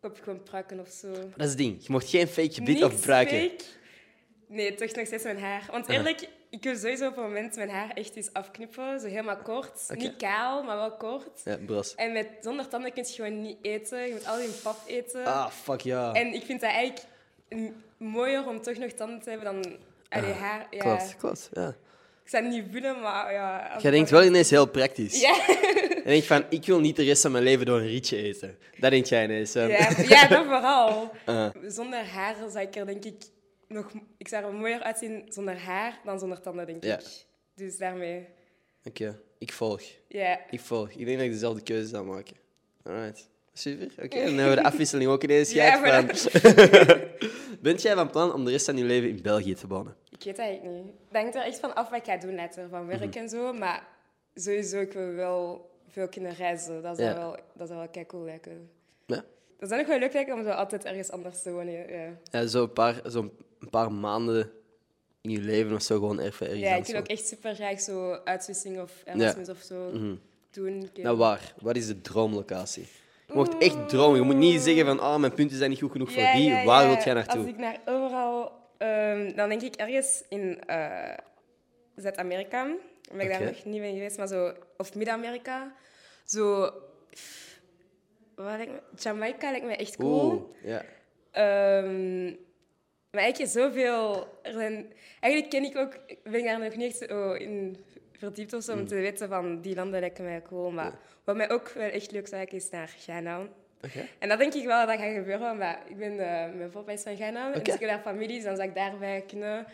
koop ik gewoon prakken of zo. dat is het ding. Je mocht geen fake gebied Niks of bruiken. fake. Nee, toch nog steeds mijn haar. Want eerlijk, ik wil sowieso op een moment mijn haar echt eens afknippen. Zo helemaal kort. Oké. Niet kaal, maar wel kort. Ja, bros. En met, zonder tanden kun je gewoon niet eten. Je moet al je pap eten. Ah, fuck ja. En ik vind dat eigenlijk m- mooier om toch nog tanden te hebben dan aan je haar. Ja. Ah, Klopt, klopt. Ja. Ik zou het niet willen, maar ja. als Jij ik denkt dat- wel ineens heel praktisch. Ja. Je denkt van, ik wil niet de rest van mijn leven door een rietje eten. Dat denk jij ineens. hè? Ah. Ja, ja, dat vooral. Zonder haar zou ik er denk ik nog... Ik zou er mooier uitzien zonder haar dan zonder tanden, denk Ja. ik. Dus daarmee... Oké, ik volg. Ja. Ik volg. Ik denk dat ik dezelfde keuze zou maken. Alright. Super. Oké, dan hebben we de afwisseling ook ineens Ja, gehad. van- Bent jij van plan om de rest van je leven in België te wonen? Ik weet dat eigenlijk niet. Ik denk er echt van af wat ik ga doen later, van werk Mhm. en zo. Maar sowieso, ik wil wel veel kunnen reizen. Dat zou Ja. wel, dat zou wel kei cool lijken. Ja. Dat zou nog wel leuk lijken om zo altijd ergens anders te wonen. Ja, Ja, Zo'n paar, zo een paar maanden in je leven of zo gewoon even ergens ja ik anders wil ook wonen. echt super graag zo uitwisseling of Erasmus of zo doen. Ik weet Mhm. Nou, waar? Wat is de droomlocatie? Je mocht echt dromen. Je moet niet zeggen van, ah, mijn punten zijn niet goed genoeg voor Mm. Ja, die. ja, Waar ja. wilt jij Als naartoe? ik naar overal... ehm, dan denk ik ergens in eh, Zuid-Amerika. Omdat Oké. ik daar nog niet ben geweest, maar zo... Of Midden-Amerika. Zo... Wat lijkt me, Jamaica lijkt me echt cool. Oeh, ja. Ehm, maar eigenlijk is zoveel... Er zijn, eigenlijk ken ik ook... Ben ik daar nog niet echt zo in verdiept of zo, om Hmm. te weten van die landen lijken mij cool. Maar wat mij ook wel echt leuk zou lijken, is naar Ghana. Oké. En dat denk ik wel dat gaat gebeuren, maar ik ben eh mijn papa is van Ghana. En Oké. dus ik heb daar familie, dus dan zou ik daarbij kunnen.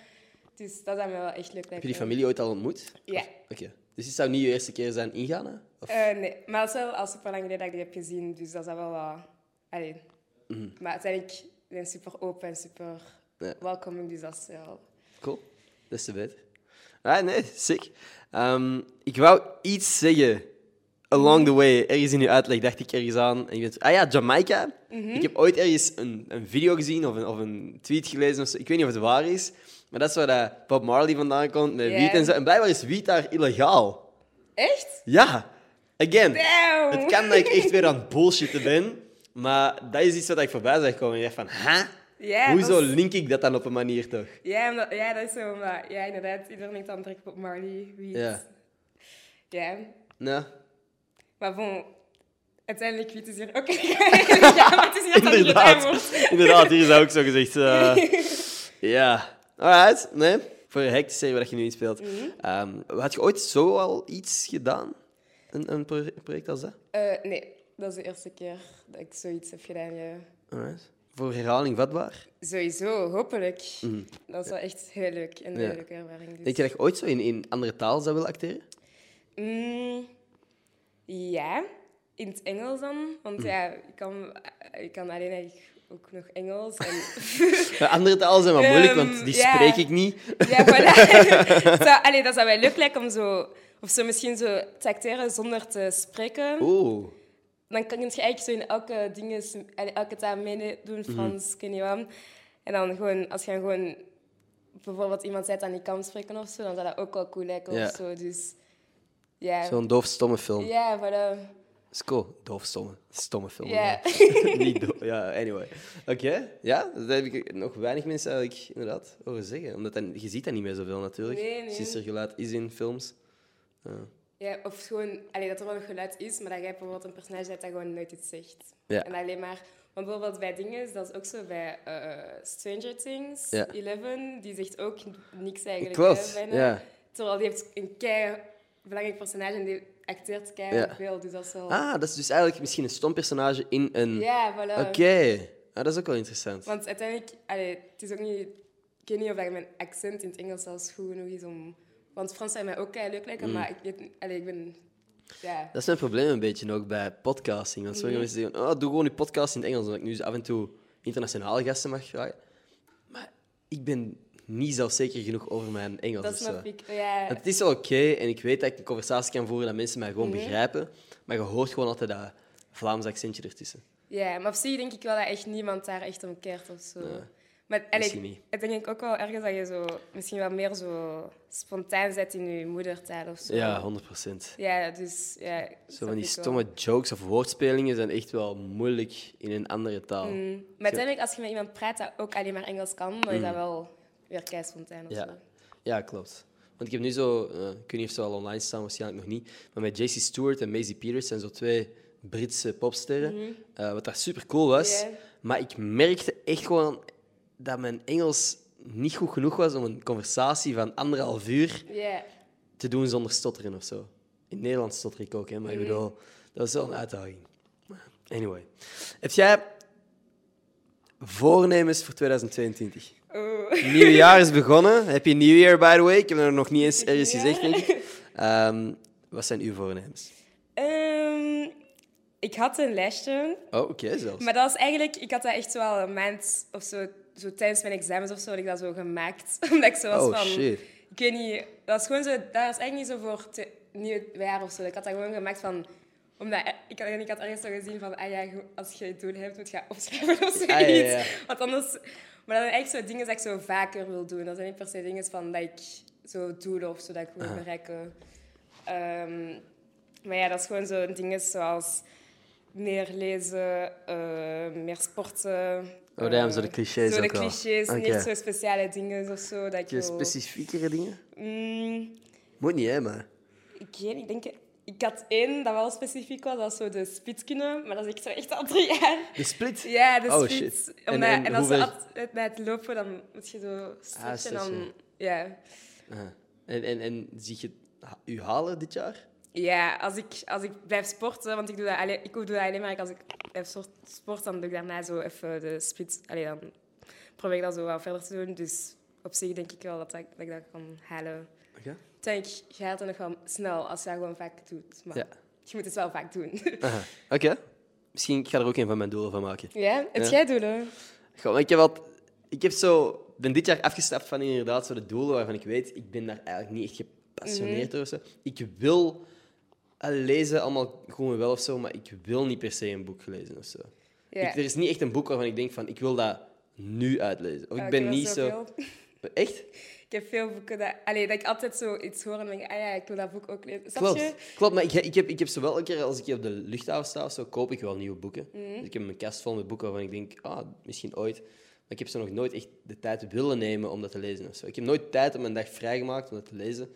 Dus dat zou me wel echt leuk lijken. Heb je die familie ooit al ontmoet? Ja. Of- Oké. Dus dit zou niet je eerste keer zijn in Ghana? Of- Eh, nee, maar het is wel al super lang geleden dat ik die heb gezien, dus dat is wel wel... Allee. Maar uiteindelijk zijn ze zijn super open en super Mhm. Ja. welcoming, dus dat is wel... Cool. Des te beter. Ah, nee, sick. Ehm, ik wou iets zeggen along the way. Ergens in uw uitleg dacht ik ergens aan. En je bent, ah ja, Jamaica. Mhm. Ik heb ooit ergens een, een video gezien of een, of een tweet gelezen. Of zo. Ik weet niet of het waar is. Maar dat is waar dat Bob Marley vandaan komt met Ja. wiet en zo. En blijkbaar is wiet daar illegaal. Echt? Ja. Again. Damn! Het kan dat ik echt weer aan het bullshitten ben. Maar dat is iets wat ik voorbij zag komen. En ik dacht van, ha? Ja, Hoezo dat is- link ik dat dan op een manier toch? Ja, omdat- ja, dat is zo, maar... Ja, inderdaad, iedereen denkt dan direct op Marley, wie Ja. Ja. Nou, Maar bon, uiteindelijk wie het is hier ook... ja, maar het is niet dat het gedaan wordt. inderdaad. Inderdaad, hier is dat ook zo gezegd. eh, ja. Alright, nee. Voor een hek te zeggen wat je nu in speelt. Mhm. Ehm, had je ooit zo al iets gedaan? Een, een pro- project als dat? Eh, nee, dat is de eerste keer dat ik zoiets heb gedaan. ja. Alright. Voor herhaling vatbaar? Sowieso, hopelijk. Dat is wel echt heel leuk en een Mhm. Ja. heel leuke ervaring. Dus. Denk je dat je ooit zo in, in andere taal zou willen acteren? Mm, ja, in het Engels dan. Mhm. Want ja, ik kan, eh, ik kan alleen eigenlijk ook nog Engels. En, Ja, andere talen zijn wel moeilijk, want Ehm, die ja. spreek ik niet. ja, voilà. Zou- allee, dat zou mij leuk lijken om zo... Of zo misschien zo te acteren zonder te spreken. Oeh. dan kan je eigenlijk zo in elke dinges, allee, elke taal meedoen, Mhm. Frans, ik weet niet wat. En dan gewoon, als je dan gewoon bijvoorbeeld iemand zei dat niet kan spreken of zo, dan zou dat ook wel cool lijken Ja. of zo. Dus ja, Zo'n doofstomme film. ja, voilà. is cool. Doofstomme. Stomme film. Ja. ja. Niet doof. Ja, anyway. Oké. Ja, dat heb ik nog weinig mensen eigenlijk inderdaad horen zeggen. Omdat dan, je ziet dat niet meer zoveel natuurlijk. Nee, nee. Sistergeluid is in films. ja, of gewoon, allee, dat er wel nog geluid is, maar dat jij bijvoorbeeld een personage hebt dat gewoon nooit iets zegt. Ja. En alleen maar, want bijvoorbeeld bij dingen, dat is ook zo bij eh, Stranger Things, Ja. Eleven, die zegt ook niks eigenlijk. Klopt, hè, bijna. ja. Terwijl die heeft een kei belangrijk personage en die acteert kei Ja. veel, dus dat is wel... Ah, dat is dus eigenlijk misschien een stom personage in een... Ja, voilà. Oké. Ah, dat is ook wel interessant. Want uiteindelijk, allee, het is ook niet... Ik weet niet of dat mijn accent in het Engels zelfs goed genoeg is om... Want Frans zou mij ook heel leuk lijken, maar ik weet niet- allee, ik ben... Ja. Mm. Dat is mijn probleem een beetje ook bij podcasting. Want sommige mensen zeggen, oh, doe gewoon die podcast in het Engels. Omdat ik nu af en toe internationale gasten mag vragen. Maar ik ben niet zelfzeker genoeg over mijn Engels. Dat of snap zo. ik. Ja, dus, eh, Het is wel oké en ik weet dat ik een conversatie kan voeren dat mensen mij gewoon begrijpen, maar je hoort gewoon altijd dat Vlaams accentje ertussen. ja, maar op zich denk ik wel dat echt niemand daar echt om keert of zo. Nee. Maar allee, Misschien niet. ik denk ik ook wel ergens dat je zo, misschien wel meer zo spontaan zet in je moedertaal of zo. Ja, 100 procent. Ja, dus ja. Zo snap van die ik wel. stomme jokes of woordspelingen zijn echt wel moeilijk in een andere taal. Mm. Maar uiteindelijk, als je met iemand praat dat ook alleen maar Engels kan, dan is dat wel weer kei spontaan of Hm. Ja. zo. ja, klopt. Want ik heb nu zo, eh, ik weet niet of ze al online staan, waarschijnlijk nog niet, maar met JC Stewart en Maisie Peters zijn zo twee Britse popsterren, eh, wat daar super cool was. Mhm. Ja. Maar ik merkte echt gewoon dat mijn Engels niet goed genoeg was om een conversatie van anderhalf uur Ja. te doen zonder stotteren of zo. In Nederland stotter ik ook, hè, Mhm. maar ik bedoel, dat is wel een uitdaging. Anyway. Heb jij voornemens voor 2022? Oh. Nieuw jaar is begonnen. Heb je nieuw jaar, by the way? Ik heb er nog niet eens ergens gezegd, denk ik. Ehm, wat zijn uw voornemens? Ehm, ik had een lesje, Oh, oké, zelfs. maar dat was eigenlijk... Ik had dat echt zo al een maand of zo, zo tijdens mijn examens of zo, had ik dat zo gemaakt. Omdat ik zo was oh, van... shit. Ik weet niet, dat was gewoon zo... Dat was eigenlijk niet zo voor te, nieuw jaar of zo. Ik had dat gewoon gemaakt van... Omdat ik, had- ik had ergens zo gezien van... Ah ja, je- als je het doel hebt, moet je dat opschrijven of zoiets. Ah, ja, ja. Want anders... Maar dat zijn eigenlijk zo dingen dat ik zo vaker wil doen. Dat zijn niet per se dingen van dat ik zo doelen of zo dat ik Ah. wil bereiken. Ehm, maar ja, dat is gewoon zo dingen zoals... Meer lezen, eh, meer sporten. Oh, daarom eh, zo de clichés Zo de ook wel. clichés, Oké. niet zo speciale dingen of zo. Dat ik Heb je wil- specifiekere dingen? Mm, Moet niet, hè, maar... ik weet niet, ik denk... Ik had één dat wel specifiek was, dat was zo de spitskunde. Maar dat is ik zo echt al drie jaar. De split? Ja, de Oh, spits. shit. En- Omdat, en, en Ah, als hoeveel- ze altijd naar het lopen, dan moet je zo stretchen. stretchen. dan, ja. Ah. En, en, en zie je ha- u halen dit jaar? ja, als ik, als ik blijf sporten, want ik doe dat alleen, ik doe dat alleen maar als ik blijf sort- sporten, dan doe ik daarna zo even de spits. Allee, dan probeer ik dat zo wel verder te doen. Dus op zich denk ik wel dat, ik- dat ik dat kan halen. Oké. Ik denk, je haalt het nog wel snel als je dat gewoon vaak doet. Maar Ja. je moet het wel vaak doen. Aha. Oké. Misschien ik ga er ook een van mijn doelen van maken. Ja, het Ja. jij doelen. Goh, maar ik heb wat... Ik heb zo... ben dit jaar afgestapt van inderdaad zo de doelen waarvan ik weet, ik ben daar eigenlijk niet echt Mhm. gepassioneerd door. of zo. Ik wil eh, lezen, allemaal gewoon wel of zo, maar ik wil niet per se een boek lezen of zo. Ja. Ik- er is niet echt een boek waarvan ik denk van, ik wil dat nu uitlezen. Of ik Ja, ben heb niet wel zo... veel- Echt? ik heb veel boeken dat, allee, dat ik altijd zo iets hoor en denk, ah ja, ik wil dat boek ook lezen. Snap Klopt, je? klopt, maar ik, ik, heb, ik heb zowel een keer als ik hier op de luchthaven sta of zo, koop ik wel nieuwe boeken. Mhm. Dus ik heb mijn kast vol met boeken waarvan ik denk, ah, misschien ooit. Maar ik heb ze nog nooit echt de tijd willen nemen om dat te lezen of zo. Ik heb nooit tijd op mijn dag vrijgemaakt om dat te lezen,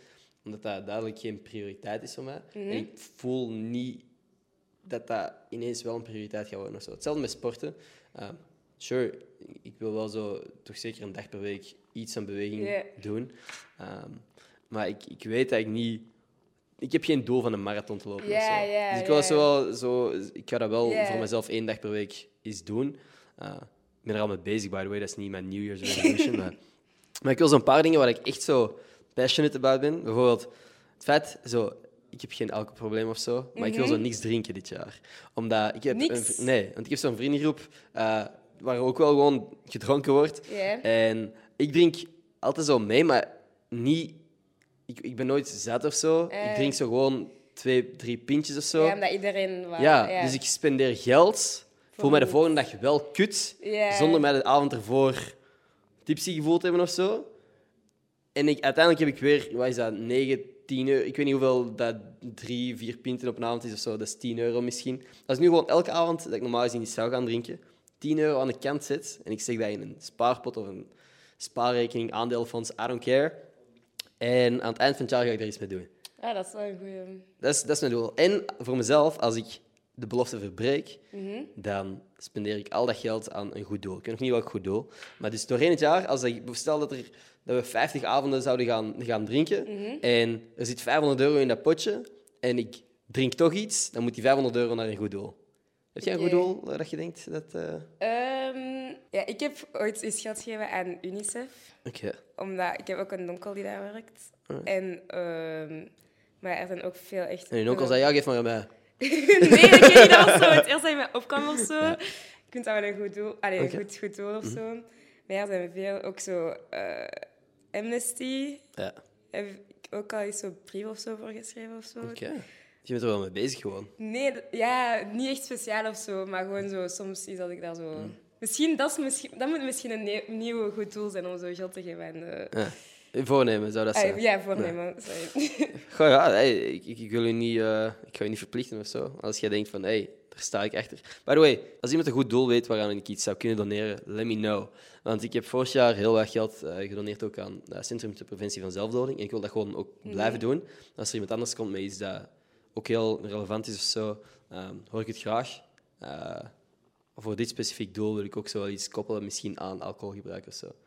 omdat dat duidelijk geen prioriteit is voor mij. Mhm. En ik voel niet dat dat ineens wel een prioriteit gaat worden of zo. Hetzelfde met sporten. Eh, sure, ik wil wel zo toch zeker een dag per week iets aan beweging Ja. doen. Ehm, maar ik, ik weet dat ik niet... Ik heb geen doel van een marathon te lopen. Ja, of zo. ja, dus ik, wil dat ja. zo wel, zo, ik ga dat wel Ja. voor mezelf één dag per week eens doen. Eh, ik ben er al mee bezig, by the way. Dat is niet mijn New Year's resolution. maar, maar ik wil zo'n paar dingen waar ik echt zo passionate about ben. Bijvoorbeeld het feit... Zo, ik heb geen alcoholprobleem of zo, maar ik wil zo niks drinken dit jaar. Omdat ik heb Mhm. Niks? een vri- nee, want ik heb zo'n vriendengroep eh, waar ook wel gewoon gedronken wordt. Ja. En ik drink altijd zo mee, maar niet. Ik, ik ben nooit zat of zo. Ik Eh. drink zo gewoon twee, drie pintjes of zo. Ja, omdat iedereen... wel- Ja, dus ik spendeer geld. Voel mij de niets. volgende dag wel kut. Ja. Zonder mij de avond ervoor tipsy gevoeld te hebben of zo. En ik, uiteindelijk heb ik weer, wat is dat, 9, 10 euro. Ik weet niet hoeveel dat drie, vier pinten op een avond is of zo. Dat is 10 euro misschien. Als ik nu gewoon elke avond, dat ik normaal gezien niet zou gaan drinken, 10 euro aan de kant zet. En ik zeg dat in een spaarpot of een spaarrekening, aandeelfonds, I don't care. En aan het eind van het jaar ga ik daar iets mee doen. Ah, dat is wel een goeie. Dat is, dat is mijn doel. En voor mezelf, als ik de belofte verbreek, dan spendeer ik al dat geld aan een goed doel. Ik weet nog niet welk goed doel. Maar dus doorheen het jaar, als ik, stel dat, er, dat we 50 avonden zouden gaan, gaan drinken en er zit 500 euro in dat potje en ik drink toch iets, dan moet die 500 euro naar een goed doel. Heb jij een Oké. goed doel waar dat je denkt dat... eh, Ehm, ja, ik heb ooit eens geld gegeven aan UNICEF. Oké. Omdat ik heb ook een onkel die daar werkt. En... ehm, maar er zijn ook veel echt... Ah. En je onkel zei, ja, geef maar aan mij. nee, ik weet niet, dat was zo het eerste dat in mij opkwam of zo. Ik vind dat wel een goed doel, Allee, Oké. Mhm. een goed, goed doel of zo. Maar ja, er zijn veel ook zo eh, Amnesty. Ja, Heb ik ook al eens zo'n brief of zo voor geschreven of zo. oké. Je bent er wel mee bezig gewoon. Nee, d- ja, niet echt speciaal of zo, maar gewoon zo, soms is dat ik daar Mhm. zo... Misschien, dat, is misschien, dat moet misschien een ne- nieuw goed doel zijn om zo geld te geven. En, eh, Ja. Voornemen zou dat ah, zijn. ja, voornemen. Sorry. Goh, ja, hey, ik, ik, ik wil u niet, eh, ik ga u niet verplichten of zo. Als jij denkt van, hé, hey, daar sta ik achter. By the way, als iemand een goed doel weet waaraan ik iets zou kunnen doneren, let me know. Want ik heb vorig jaar heel wat geld eh, gedoneerd ook aan het Centrum ter Preventie van Zelfdoding. En ik wil dat gewoon ook blijven doen. Als er iemand anders komt met iets dat ook heel relevant is of zo, ehm, hoor ik het graag. Eh, voor dit specifiek doel wil ik ook zo wel iets koppelen, misschien aan alcoholgebruik of zo.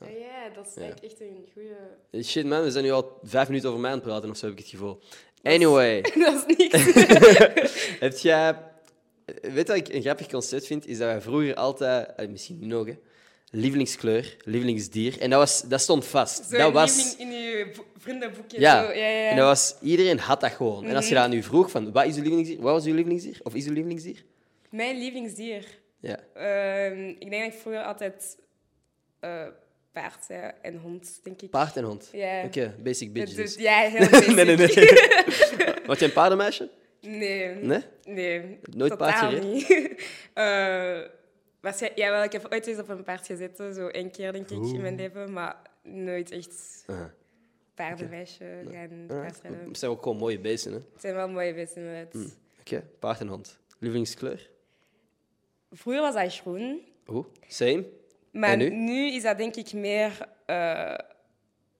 Ah ja, dat is Ja. eigenlijk echt een goede. Eh, Shit man, we zijn nu al vijf minuten over mij aan het praten of zo heb ik het gevoel. Anyway. dat is niks. Heb jij... Weet wat ik een grappig concept vind? Is dat wij vroeger altijd... eh, Misschien nu nog, hè. Lievelingskleur, lievelingsdier. En dat, was, dat stond vast. Zo'n dat was... evening in je vo- vriendenboekje. Ja. Zo. ja, ja. Mhm. En dat was... Iedereen had dat gewoon. En als je dat aan u vroeg, van... Wat is uw lievelingsdier? Wat was uw lievelingsdier? Of is uw lievelingsdier? Mijn lievelingsdier. Ja. Ehm, ik denk dat ik vroeger altijd eh, paard zei en hond, denk ik. Paard en hond. Ja. Oké, basic bitch Dus, dus. ja, heel basic. nee, nee, nee. Was je een paardenmeisje? Nee. Nee? Nee, Nooit totaal paard gereden? niet. Eh, waarschijn- ja, wel, ik heb ooit eens op een paard gezeten, zo één keer denk ik in mijn leven, maar nooit echt Aha. paardenmeisje Ah, gaan paardrijden. Dat zijn ook gewoon mooie beesten, hè? Het zijn wel mooie beesten inderdaad. Oké, paard en hond. Lievelingskleur? Vroeger was dat groen, Oeh, same. maar En nu? nu? is dat denk ik meer eh,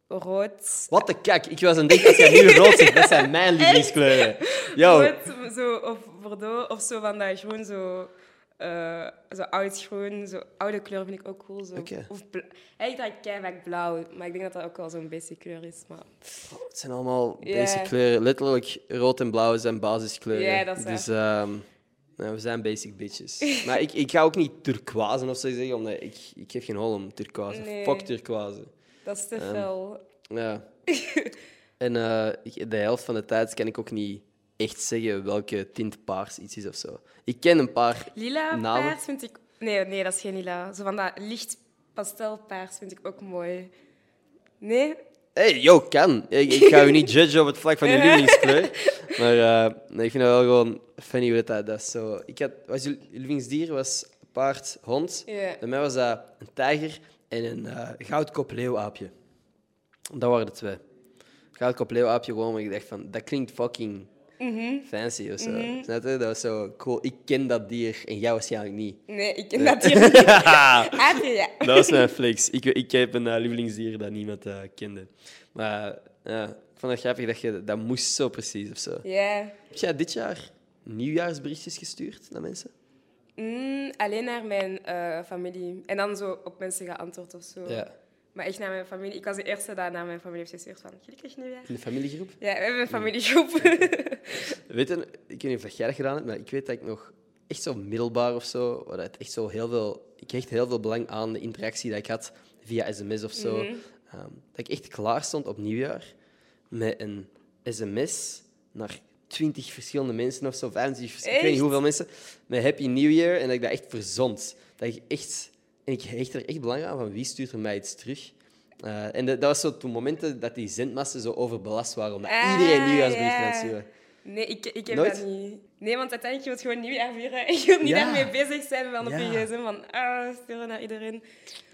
rood. Wat de kak. Ik was aan het denken, als jij nu rood zegt, dat zijn mijn lievelingskleuren. Yo. Rood zo, of bordeaux, of zo van dat groen, zo, eh, zo oud groen. Zo, oude kleur vind ik ook cool. Zo. Oké. Of bla- Eigenlijk draag ik keihard blauw, maar ik denk dat dat ook wel zo'n basic kleur is. Maar... Het zijn allemaal Ja. basic kleuren. Letterlijk, rood en blauw zijn basiskleuren. Ja, dat is waar. Dus ehm, nou, we zijn basic bitches. maar ik, ik ga ook niet turquoise of zo zeggen, omdat ik, ik geef geen hol om turquoise. Nee. Fuck turquoise. Dat is te Ehm, veel. Ja. en eh, ik- de helft van de tijd kan ik ook niet echt zeggen welke tint paars iets is of zo. Ik ken een paar... Lila namen. paars vind ik... Nee, nee, dat is geen lila. Zo van dat licht pastelpaars vind ik ook mooi. Nee? Hey, yo, kan. Ik, ik ga u niet judgen op het vlak van uw lievelingskleur. Maar eh, nee, ik vind dat wel gewoon funny hoe dat- dat, dat is zo... Ik had, was uw lievelingsdier was paard, hond. Ja. Bij mij was dat een tijger en een eh goudkop leeuwaapje. Dat waren de twee. Goudkop leeuwaapje gewoon, maar ik dacht van, dat klinkt fucking fancy of zo. Snap je? Dat was zo cool. Ik ken dat dier en jij waarschijnlijk niet. Nee, ik ken dat hier niet. Aapje, ja. Dat was mijn flex. Ik, ik heb een eh, lievelingsdier dat niemand eh, kende. Maar ja, ik vond het grappig dat je dat moest zo precies of zo. Ja. Heb jij dit jaar nieuwjaarsberichtjes gestuurd naar mensen? Mm, alleen naar mijn eh, familie. En dan zo op mensen geantwoord of zo. Ja. Maar echt naar mijn familie. Ik was de eerste dat naar mijn familie heeft gestuurd van... Gelukkig nieuwjaar. In de familiegroep? Ja, we Hm. hebben een familiegroep. Weet je, ik weet niet of jij dat gedaan hebt, maar ik weet dat ik nog echt zo middelbaar of zo, waar het echt zo heel veel, ik hecht heel veel belang aan de interactie dat ik had via sms of Mhm. zo. Ehm, dat ik echt klaar stond op nieuwjaar met een sms naar 20 verschillende mensen of zo, 25, vers- ik weet niet Echt? hoeveel mensen, met Happy New Year en dat ik dat echt verzond. Dat ik echt, en ik hecht er echt belang aan van wie stuurt er mij iets terug. Eh, en dat, dat was zo toen momenten dat die zendmassen zo overbelast waren, omdat Ah, iedereen nieuwjaarsberichten aan het ja. sturen. Nee, ik, ik heb Nooit? dat niet. Nee, want uiteindelijk je wilt gewoon nieuwjaar vieren. En je wilt niet Ja. daarmee bezig zijn van op Ja. je gsm van ah, sturen naar iedereen.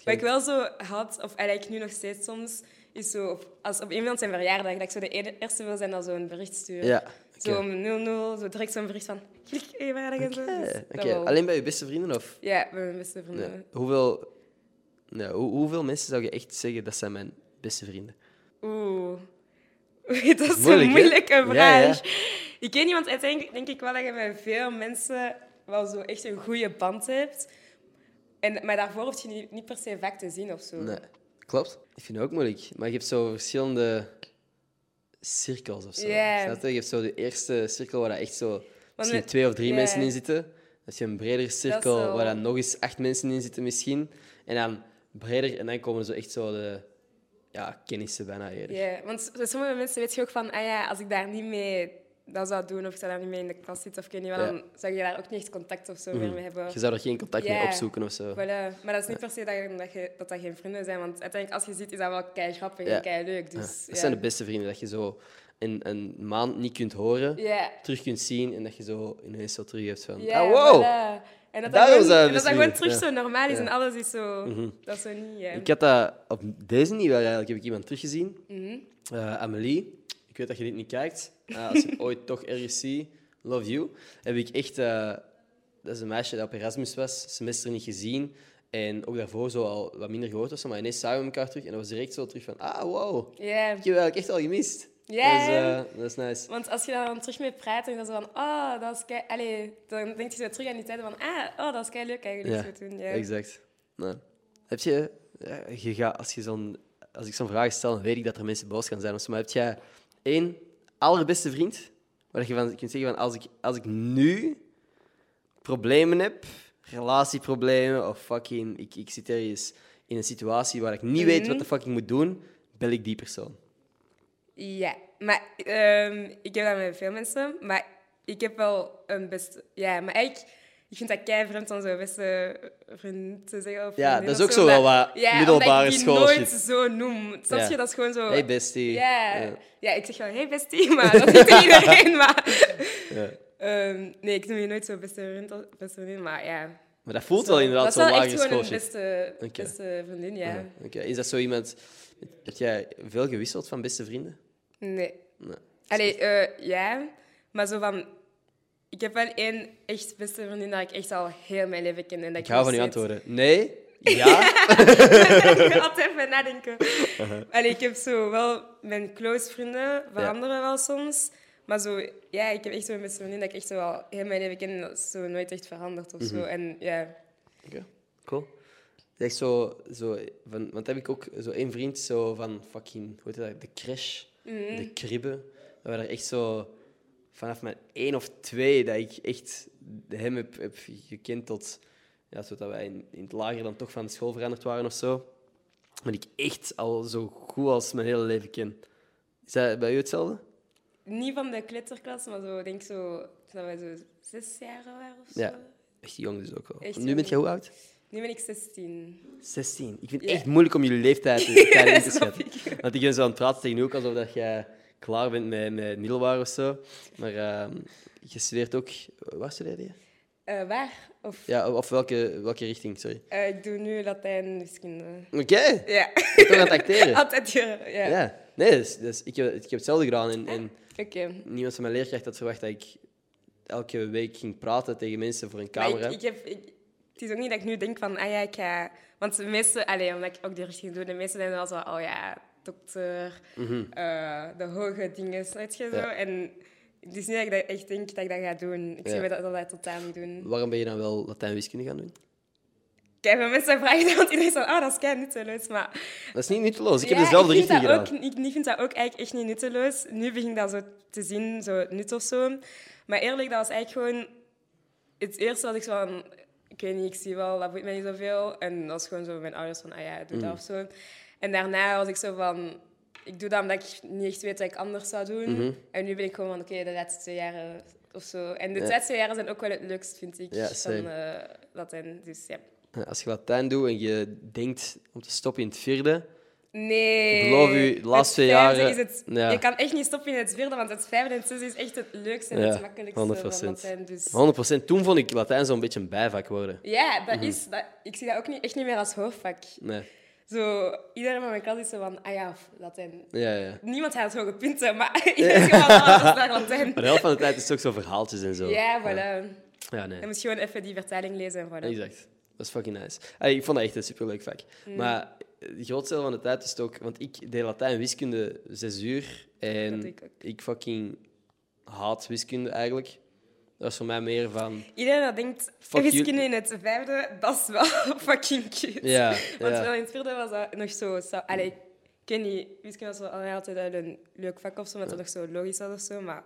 Wat ik wel zo had, of eigenlijk nu nog steeds soms, is zo op, als op iemand zijn verjaardag, dat ik zo de ene- eerste wil zijn dat zo een bericht stuurt. Ja. Zo oké. om 00, zo direct zo'n bericht van gelukkig eh, verjaardag en zo. Oké, Dus dat oké. wel. alleen bij je beste vrienden of Ja, bij mijn beste nee. vrienden. hoeveel, nee, hoe- hoeveel mensen zou je echt zeggen dat zijn mijn beste vrienden? Oeh. Dat is Moeilijk, een hè? moeilijke Ja, vraag. Ik weet niet, want uiteindelijk denk ik wel dat je met veel mensen wel zo echt een goede band hebt. En, maar daarvoor hoef je niet, niet per se vaak te zien of zo. Nee, klopt. Ik vind het ook moeilijk, maar je hebt zo verschillende cirkels of zo. Ja. Snap je? Je hebt zo de eerste cirkel waar dat echt zo misschien we- twee of drie ja. mensen in zitten. Dan heb je een breder cirkel wel- waar dan nog eens acht mensen in zitten misschien. En dan breder en dan komen zo echt zo de ja, kennissen bijna eerder. Ja, want s- sommige mensen weet je ook van, ah ja, als ik daar niet mee dat zou doen of ik zou daar niet mee in de klas zitten of ik weet niet wat, Ja. Mhm. dan zou je daar ook niet echt contact of zo meer mee hebben. Je zou er geen contact mee Ja. opzoeken of zo. Voilà. Maar dat is niet per se dat, je- dat, je, dat dat geen vrienden zijn, want uiteindelijk als je ziet is dat wel kei grappig Ja. en kei leuk. Ja. Dus, Ah, Dat zijn de beste vrienden, dat je zo een, een maand niet kunt horen, Ja. terug kunt zien en dat je zo ineens zo terug hebt van... Ja, ah, wow! voilà. En dat Daarom dat, gewoon, zijn we en dat dat vrienden. gewoon terug Ja. zo normaal is Ja. Mhm. en alles is zo... Dat is zo niet... ja. Ik had dat op deze niet wel eigenlijk. Heb ik iemand teruggezien. Mhm. Eh, Amelie, ik weet dat je dit niet kijkt. Eh, als ik ooit toch ergens zie, love you. Heb ik echt... eh, dat is een meisje dat op Erasmus was, semester niet gezien. En ook daarvoor zo al wat minder gehoord of zo. Maar ineens zagen we elkaar terug en dat was direct zo terug van... Ah, wow. Ja. Ik heb je eigenlijk echt al gemist. Ja, Dus, ja. eh, dat is nice. Want als je daar dan terug mee praat, dan is dat zo van... Oh, dat is kei... Allee, dan denk je zo terug aan die tijden van... Ah, oh, dat is kei leuk eigenlijk. zo toen, ja. exact. Nou, heb je, ja, je gaat, als, je zo'n, als ik zo'n vraag stel, dan weet ik dat er mensen boos gaan zijn. of zo, Maar heb jij één allerbeste vriend, waar je van kunt zeggen van als ik, als ik nu problemen heb, relatieproblemen of fucking, ik, ik zit ergens in een situatie waar ik niet weet wat de Mhm. fuck ik moet doen, bel ik die persoon. Ja, maar ehm, ik heb dat met veel mensen, maar ik heb wel een beste... Ja, maar eigenlijk, ik vind dat kei vreemd om zo'n beste vriend te zeggen. Of Ja, vriendin dat is of ook zo wel maar- wat middelbare omdat ik die school shit. nooit zo noem. Snap Ja. je? Dat is gewoon zo... Hey bestie. Oh, Ja. Ja. ja, ik zeg wel, hey bestie, maar dat is tegen iedereen. Maar, Ja. Ehm, nee, ik noem je nooit zo beste vriend, of beste vriendin, maar ja. Maar dat voelt wel inderdaad dat zo'n is wel lagere echt gewoon school een shit. beste, Oké. beste vriendin, ja. Ja, oké. Is dat zo iemand... Heb jij veel gewisseld van beste vrienden? Nee. Nee. Allee, eh, ja, maar zo van... Ik heb wel één echt beste vriendin dat ik echt al heel mijn leven ken. En dat Ik hou van uw nog antwoorden. Nee, ja, steeds- Ik ga altijd even nadenken. Uh-huh. Allee, ik heb zo wel... Mijn close vrienden veranderen wel soms. Maar zo... Ja, ik heb echt zo'n beste vriendin dat ik echt zo al heel mijn leven ken. En dat is zo nooit echt veranderd of Mhm. zo. En ja... Cool. Het is echt zo, zo van, want heb ik ook zo één vriend zo van fucking, hoe heet dat, de crash, Mhm. de kribbe. Dat we daar echt zo vanaf mijn één of twee dat ik echt hem heb, heb gekend tot, ja, zodat wij in, in het lager dan toch van de school veranderd waren of zo. Maar die ik echt al zo goed als mijn hele leven ken. Is dat bij u hetzelfde? Niet van de klitterklas, maar zo... denk zo... Dat wij zo zes jaar waren of zo. Ja. Echt jong dus ook wel. Echt nu bent jong. jij hoe oud? Nu ben ik 16. 16. Ik vind het Ja. echt moeilijk om jullie leeftijd te, daarin te snap schatten. Want ik ben zo aan het praten tegen u ook alsof dat jij klaar bent met, met middelbaar of zo. Maar ehm, je studeert ook. Waar studeerde je? Eh, waar? Of... Ja, of welke, welke richting, sorry. Eh, ik doe nu Latijn wiskunde. Oké, Ja. je bent toch aan het acteren? Altijd hier, ja. Ja, nee, dus, dus ik, heb, ik heb hetzelfde gedaan. En, en Oké. niemand van mijn leerkracht had verwacht dat ik elke week ging praten tegen mensen voor een Maar camera. Ik, ik heb, ik- het is ook niet dat ik nu denk van, ah ja, ik ga... Want de meeste, allee, omdat ik ook die richting doe, de meeste zijn wel zo, oh ja, dokter, eh, de hoge dingen, weet je Mhm. zo. Ja. En het is niet dat ik dat echt denk dat ik dat ga doen. Ik Ja. zie me dat, dat, dat totaal niet doen. Waarom ben je dan wel Latijn wiskunde gaan doen? Kijk, veel mensen vragen dat, want iedereen zegt, oh, dat is kei nutteloos, maar... Dat is niet nutteloos. Ik Ja, heb dezelfde ik vind richting dat gedaan. Ook, ik, ik vind dat ook eigenlijk echt niet nutteloos. Nu begin ik dat zo te zien, zo nut of zo. Maar eerlijk, dat was eigenlijk gewoon het eerste wat ik zo van... Ik weet niet, ik zie wel, dat boeit mij niet zoveel. En dat was gewoon zo mijn ouders van, ah ja, doe Mm. dat of zo. En daarna was ik zo van... Ik doe dat omdat ik niet echt weet wat ik anders zou doen. Mhm. En nu ben ik gewoon van, oké, de laatste twee jaren of zo. En de Ja. laatste twee jaren zijn ook wel het leukst, vind ik. Ja, van same. eh, Latijn, dus ja. Ja, Als je Latijn doet en je denkt om te stoppen in het vierde, Nee. Ik beloof u, de laatste Het vijfde jaren- Is het, Ja. Je kan echt niet stoppen in het vierde, want het vijfde en het zesde is echt het leukste en Ja, het makkelijkste 100%. van Latijn. Dus... 100%. Toen vond ik Latijn zo'n beetje een bijvak worden. Ja, dat Mhm. is, dat, ik zie dat ook niet, echt niet meer als hoofdvak. Nee. Zo, iedereen van mijn klas is zo van, ah ja, f- Latijn. Ja, ja. Niemand haalt hoge punten, maar iedereen is gewoon alles naar Latijn. Maar de helft van de tijd is het ook zo verhaaltjes en zo. Ja, Ja, voilà. Ja, nee. Dan moet je gewoon even die vertaling lezen en voilà. Exact. Dat is fucking nice. Allee, ik vond dat echt een superleuk vak. Mm. Maar het grootste deel van de tijd is het ook... Want ik deed Latijn en wiskunde zes uur. En Dat ik ook. ik fucking haat wiskunde eigenlijk. Dat was voor mij meer van... Iedereen dat denkt, Fuck you. wiskunde in het vijfde, dat is wel fucking cute. Ja, Want ja. wel in het vierde was dat nog zo... sa- Allee, ik ken niet, wiskunde was wel allee, altijd wel een leuk vak of zo, omdat dat nog zo logisch was of zo, maar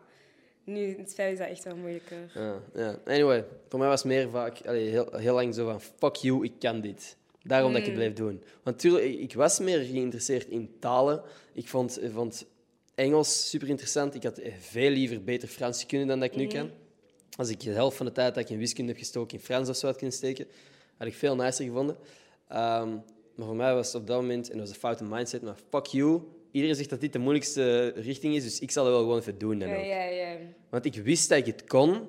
nu in het vijfde is dat echt wel moeilijker. Ja, ja. Anyway, voor mij was het meer vaak allee, heel, heel lang zo van fuck you, ik kan dit. Daarom Mm. dat ik het bleef doen. Want tuurlijk, ik, ik was meer geïnteresseerd in talen. Ik vond, eh, vond Engels, super interessant. Ik had eh, veel liever beter Frans kunnen dan dat Mm. ik nu kan. Als ik de helft van de tijd dat ik in wiskunde heb gestoken in Frans of zo had kunnen steken, had ik veel nicer gevonden. Ehm, maar voor mij was het op dat moment, en dat was een foute mindset, maar fuck you. Iedereen zegt dat dit de moeilijkste richting is, dus ik zal het wel gewoon even doen. Dan Ja, ook. ja, ja. Want ik wist dat ik het kon.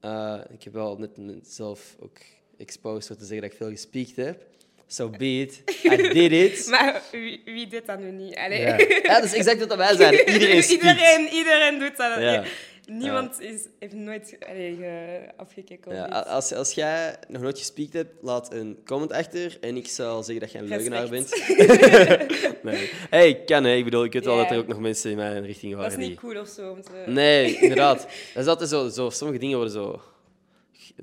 Eh, ik heb wel net net zelf ook exposed door te zeggen dat ik veel gespiekt heb. So be it. I did it. Maar wie, wie doet dat nu niet? Allee. Ja. ja, dat is exact wat wij zeiden. Iedereen spiekt. iedereen, iedereen doet dat. Ja. Niemand Is, heeft nooit allee, ge- afgekeken. of Ja, iets. a- als, als jij nog nooit gespiekt hebt, laat een comment achter en ik zal zeggen dat jij een leugenaar bent. nee. Hey, ik kan hè. Ik bedoel, ik weet wel Ja. dat er ook nog mensen in mijn richting Dat is waren die... niet cool of zo. Om te... Nee, inderdaad. Dat is altijd zo, zo. Sommige dingen worden zo...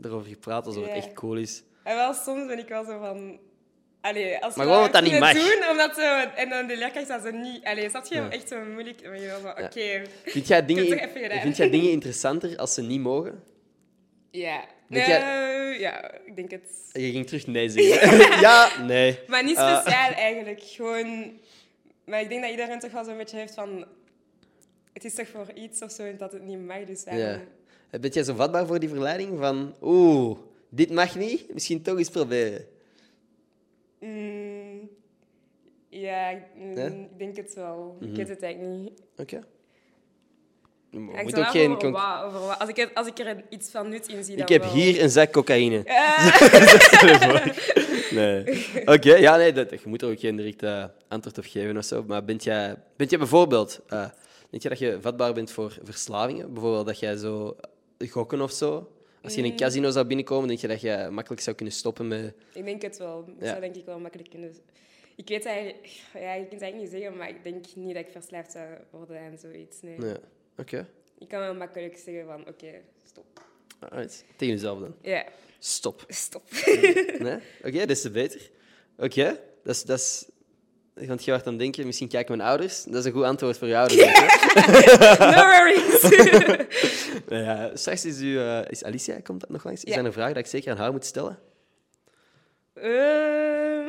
Erover gepraat alsof Ja. het echt cool is. En wel, soms ben ik wel zo van... Allee, als Maar we gewoon dat dat kunnen niet mag. Doen, omdat ze, en dan de leerkracht dat ze niet... Allee, snap je? Echt zo moeilijk. Maar je wel van, oké. Vind jij dingen, Ik heb het toch even gedaan. vind jij dingen interessanter als ze niet mogen? Ja. Denk Nee, jij- ja, ik denk het. Je ging terug nee zeggen. ja, nee. Maar niet Eh. speciaal eigenlijk. Gewoon... Maar ik denk dat iedereen toch wel zo'n beetje heeft van... Het is toch voor iets of zo en dat het niet mag, dus daarom... Ja. Ben jij zo vatbaar voor die verleiding van... Oeh, dit mag niet, misschien toch eens proberen? Mm, ja, ik- mm, Ja? Mhm. ik denk het wel. Ik weet het eigenlijk niet. Oké. Je Hangt Moet er ook wel geen... over conc- wat, over wat. Als, ik, er- als ik er iets van nut in zie, dan Ik heb wel. hier een zak cocaïne. Eh, Nee. Oké, ja, nee, dat, je moet er ook geen direct eh, antwoord op geven of zo. Maar bent jij, bent jij bijvoorbeeld... eh, denk je dat je vatbaar bent voor verslavingen? Bijvoorbeeld dat jij zo gokken of zo? Als je in een casino zou binnenkomen, denk je dat je makkelijk zou kunnen stoppen met... ik denk het wel. Ik Ja. zou denk ik wel makkelijk kunnen... Ik weet eigenlijk... Ja, je kunt het eigenlijk niet zeggen, maar ik denk niet dat ik verslaafd zou worden aan zoiets. Nee. Ja. Oké, Ik kan wel makkelijk zeggen van, oké, stop. alright. Tegen jezelf dan. Ja, Stop. stop. Nee? Oké, dat is te beter. Oké, dat is... Dat is... Want je wordt dan denken, misschien kijken mijn ouders. Dat is een goed antwoord voor je ouders. denk ik, hè? no worries. Nou ja, straks is, u, eh, is Alicia, komt dat nog langs? Is Ja. dat een vraag dat ik zeker aan haar moet stellen? Ehm,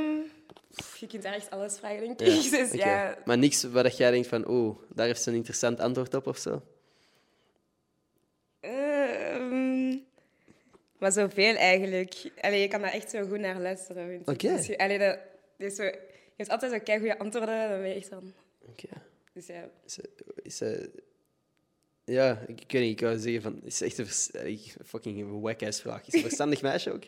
pff, je kunt daar echt alles vragen, denk ik. Dus Oké. ja, Maar niks waar dat jij denkt van, oh, daar heeft ze een interessant antwoord op of zo? Ehm, maar zoveel eigenlijk. Allee, je kan daar echt zo goed naar luisteren. vind ik. Oké. Dus je, allee, dat, dat is zo, je hebt altijd zo kei goede antwoorden. Dan ben je echt van. Oké. Dus ja. Is, is ze- Ja, ik, ik weet niet, ik wou zeggen van, is ze echt een vers- eh, ik- fucking wack-ass vraag. Is ze een verstandig meisje ook?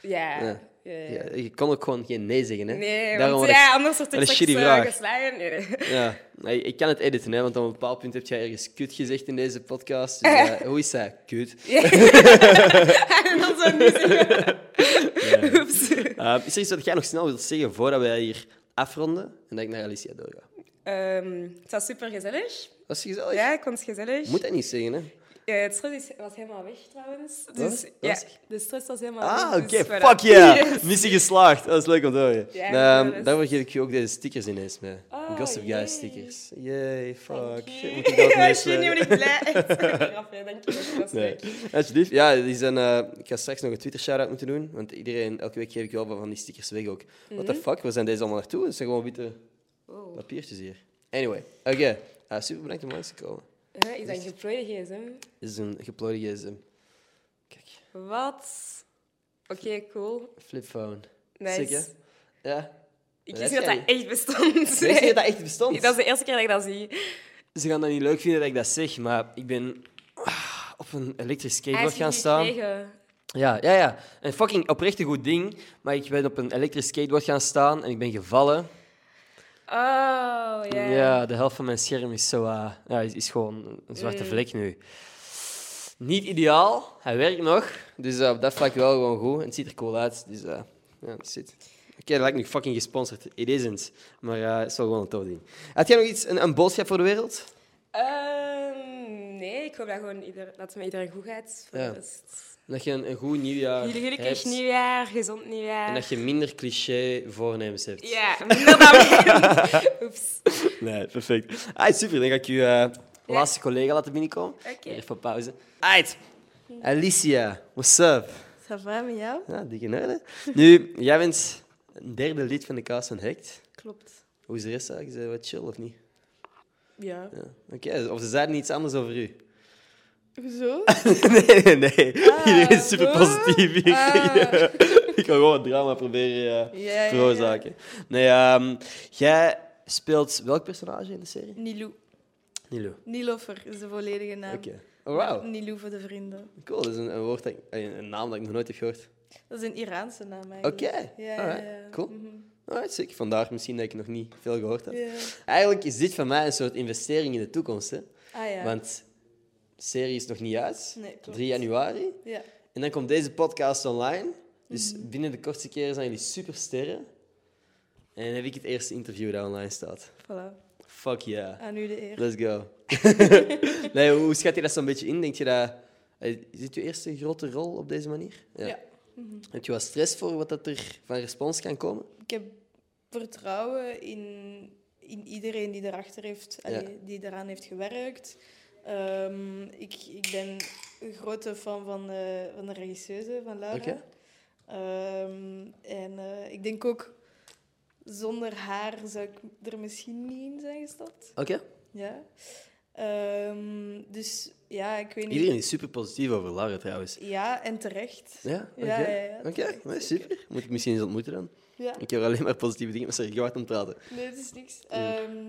Ja. Ja. ja. Ja, je kon ook gewoon geen nee zeggen, hè? Nee, Daarom want word ik- ja, anders wordt dat ik is straks shitty eh, vraag. geslagen. Nee, nee. Ja, maar ik ik kan het editen, hè, want op een bepaald punt heb jij ergens kut gezegd in deze podcast. Dus, eh, hoe is dat? Kut. en dan zo niet zeggen. Oeps. Eh, is er iets wat jij nog snel wilt zeggen voordat wij hier afronden en dat ik naar Alicia doorga? Ehm, het was super gezellig. Dat is gezellig. Ja, Oh, ik vond het gezellig. Moet dat niet zeggen, hè? Ja, het stress is- was helemaal weg trouwens. Dus, Wat ja, was de stress was helemaal Ah, weg. oké, dus voilà. fuck yeah! Missie geslaagd, dat is leuk om te horen. Ja, Ehm, dat is- daarvoor geef ik je ook deze stickers ineens mee. Oh, Gossip Guy yay. stickers. Yay, fuck. Dank Shit, je. moet ik dat Ja, ineens, shit, nu eh, ben ik blij. Echt, grapje, dank je. Dat was Nee. leuk. Alsjeblieft. Ja, die zijn, eh, ik ga straks nog een Twitter shout-out moeten doen. Want iedereen, elke week geef ik wel van die stickers weg ook. What Mhm. the fuck, waar zijn deze allemaal naartoe? Het zijn gewoon witte papiertjes hier. Anyway, oké. Eh, super bedankt om langs te komen. Huh, Is dat een geplooide gsm? Dit is een geplooide gsm. Kijk, Wat? Oké, cool. flipphone. Nice. Sick, hè? Ja. Ik Dat heb wist niet dat jij dat echt bestond. Ik wist niet dat dat echt bestond. Dat is de eerste keer dat ik dat zie. Ze gaan dat niet leuk vinden dat ik dat zeg, maar ik ben ah, op een elektrisch skateboard gaan staan. Ja, ja, ja. Een fucking oprecht een goed ding, maar ik ben op een elektrisch skateboard gaan staan en ik ben gevallen. Oh, ja. Ja, de helft van mijn scherm is, zo, eh, ja, is, is gewoon een Mm. zwarte vlek nu. Niet ideaal, hij werkt nog, dus eh, op dat vlak wel gewoon goed. En het ziet er cool uit, dus eh, ja, dat zit. Oké, dat lijkt nu fucking gesponsord. It isn't, maar eh, het is wel gewoon een tof ding. Had jij nog iets, een, een boodschap voor de wereld? Ehm, nee, ik hoop dat, gewoon ieder, dat het met iedereen goed gaat. Voor Ja. de rest. Dat je een, een goed nieuwjaar Jullie gelukkig hebt. nieuwjaar, gezond nieuwjaar. En dat je minder cliché voornemens hebt. Ja, minder dan Oeps. Nee, perfect. Ah, super, dan ga ik je eh, Ja. laatste collega laten binnenkomen. Oké. Even pauze. Uit. Alicia, what's up? Ça va met jou? Ja, dikke nerd, hè? Nu, jij bent een derde lid van de Kaas van Hekt. Klopt. Hoe is de rest eigenlijk? Is dat wat chill of niet? Ja. Ja. Oké, of ze zeiden iets anders over u. Hoezo? nee, nee, nee. Iedereen is super wat? positief. Ik, Ah. ik wil gewoon wat drama proberen eh, Ja, ja, veroorzaken. Nee, ehm, jij speelt welk personage in de serie? Nilou. Nilo. Nilofer is de volledige naam. Oké. Oh, wauw. Nilou voor de vrienden. Cool, dat is een, een, woord dat ik- een, een naam dat ik nog nooit heb gehoord. Dat is een Iraanse naam eigenlijk. Oké, Ja, alright, ja, ja. cool. Mhm. Alright, sick. Vandaar misschien dat ik nog niet veel gehoord heb. Ja. Eigenlijk is dit van mij een soort investering in de toekomst. Hè? Ah ja. Want de serie is nog niet uit. Nee, klopt. 3 januari. Ja. En dan komt deze podcast online. Dus Mhm. binnen de kortste keren zijn jullie supersterren. En dan heb ik het eerste interview dat online staat. Voilà. Fuck yeah. Aan u de eer. Let's go. nee, hoe hoe schat je dat zo'n beetje in? Denk je dat... eh, Is dit je eerste grote rol op deze manier? Ja. Mhm. Heb je wat stress voor wat dat er van respons kan komen? Ik heb vertrouwen in, in iedereen die erachter heeft, allee, die eraan heeft gewerkt. Ehm, ik, ik ben een grote fan van, eh, van de regisseuse, van Laura. Oké. Ehm, en eh, ik denk ook, zonder haar zou ik er misschien niet in zijn gestapt. Oké. Ja. Ehm, dus ja, ik weet niet. Iedereen is super positief over Laura trouwens. Ja, en terecht. Ja? Oké. Ja, ja, ja. Oké, nee, super. Moet ik misschien eens ontmoeten dan? Ja. Ik heb alleen maar positieve dingen, maar zeg, je wacht om te praten. Nee, het is niks. Ehm,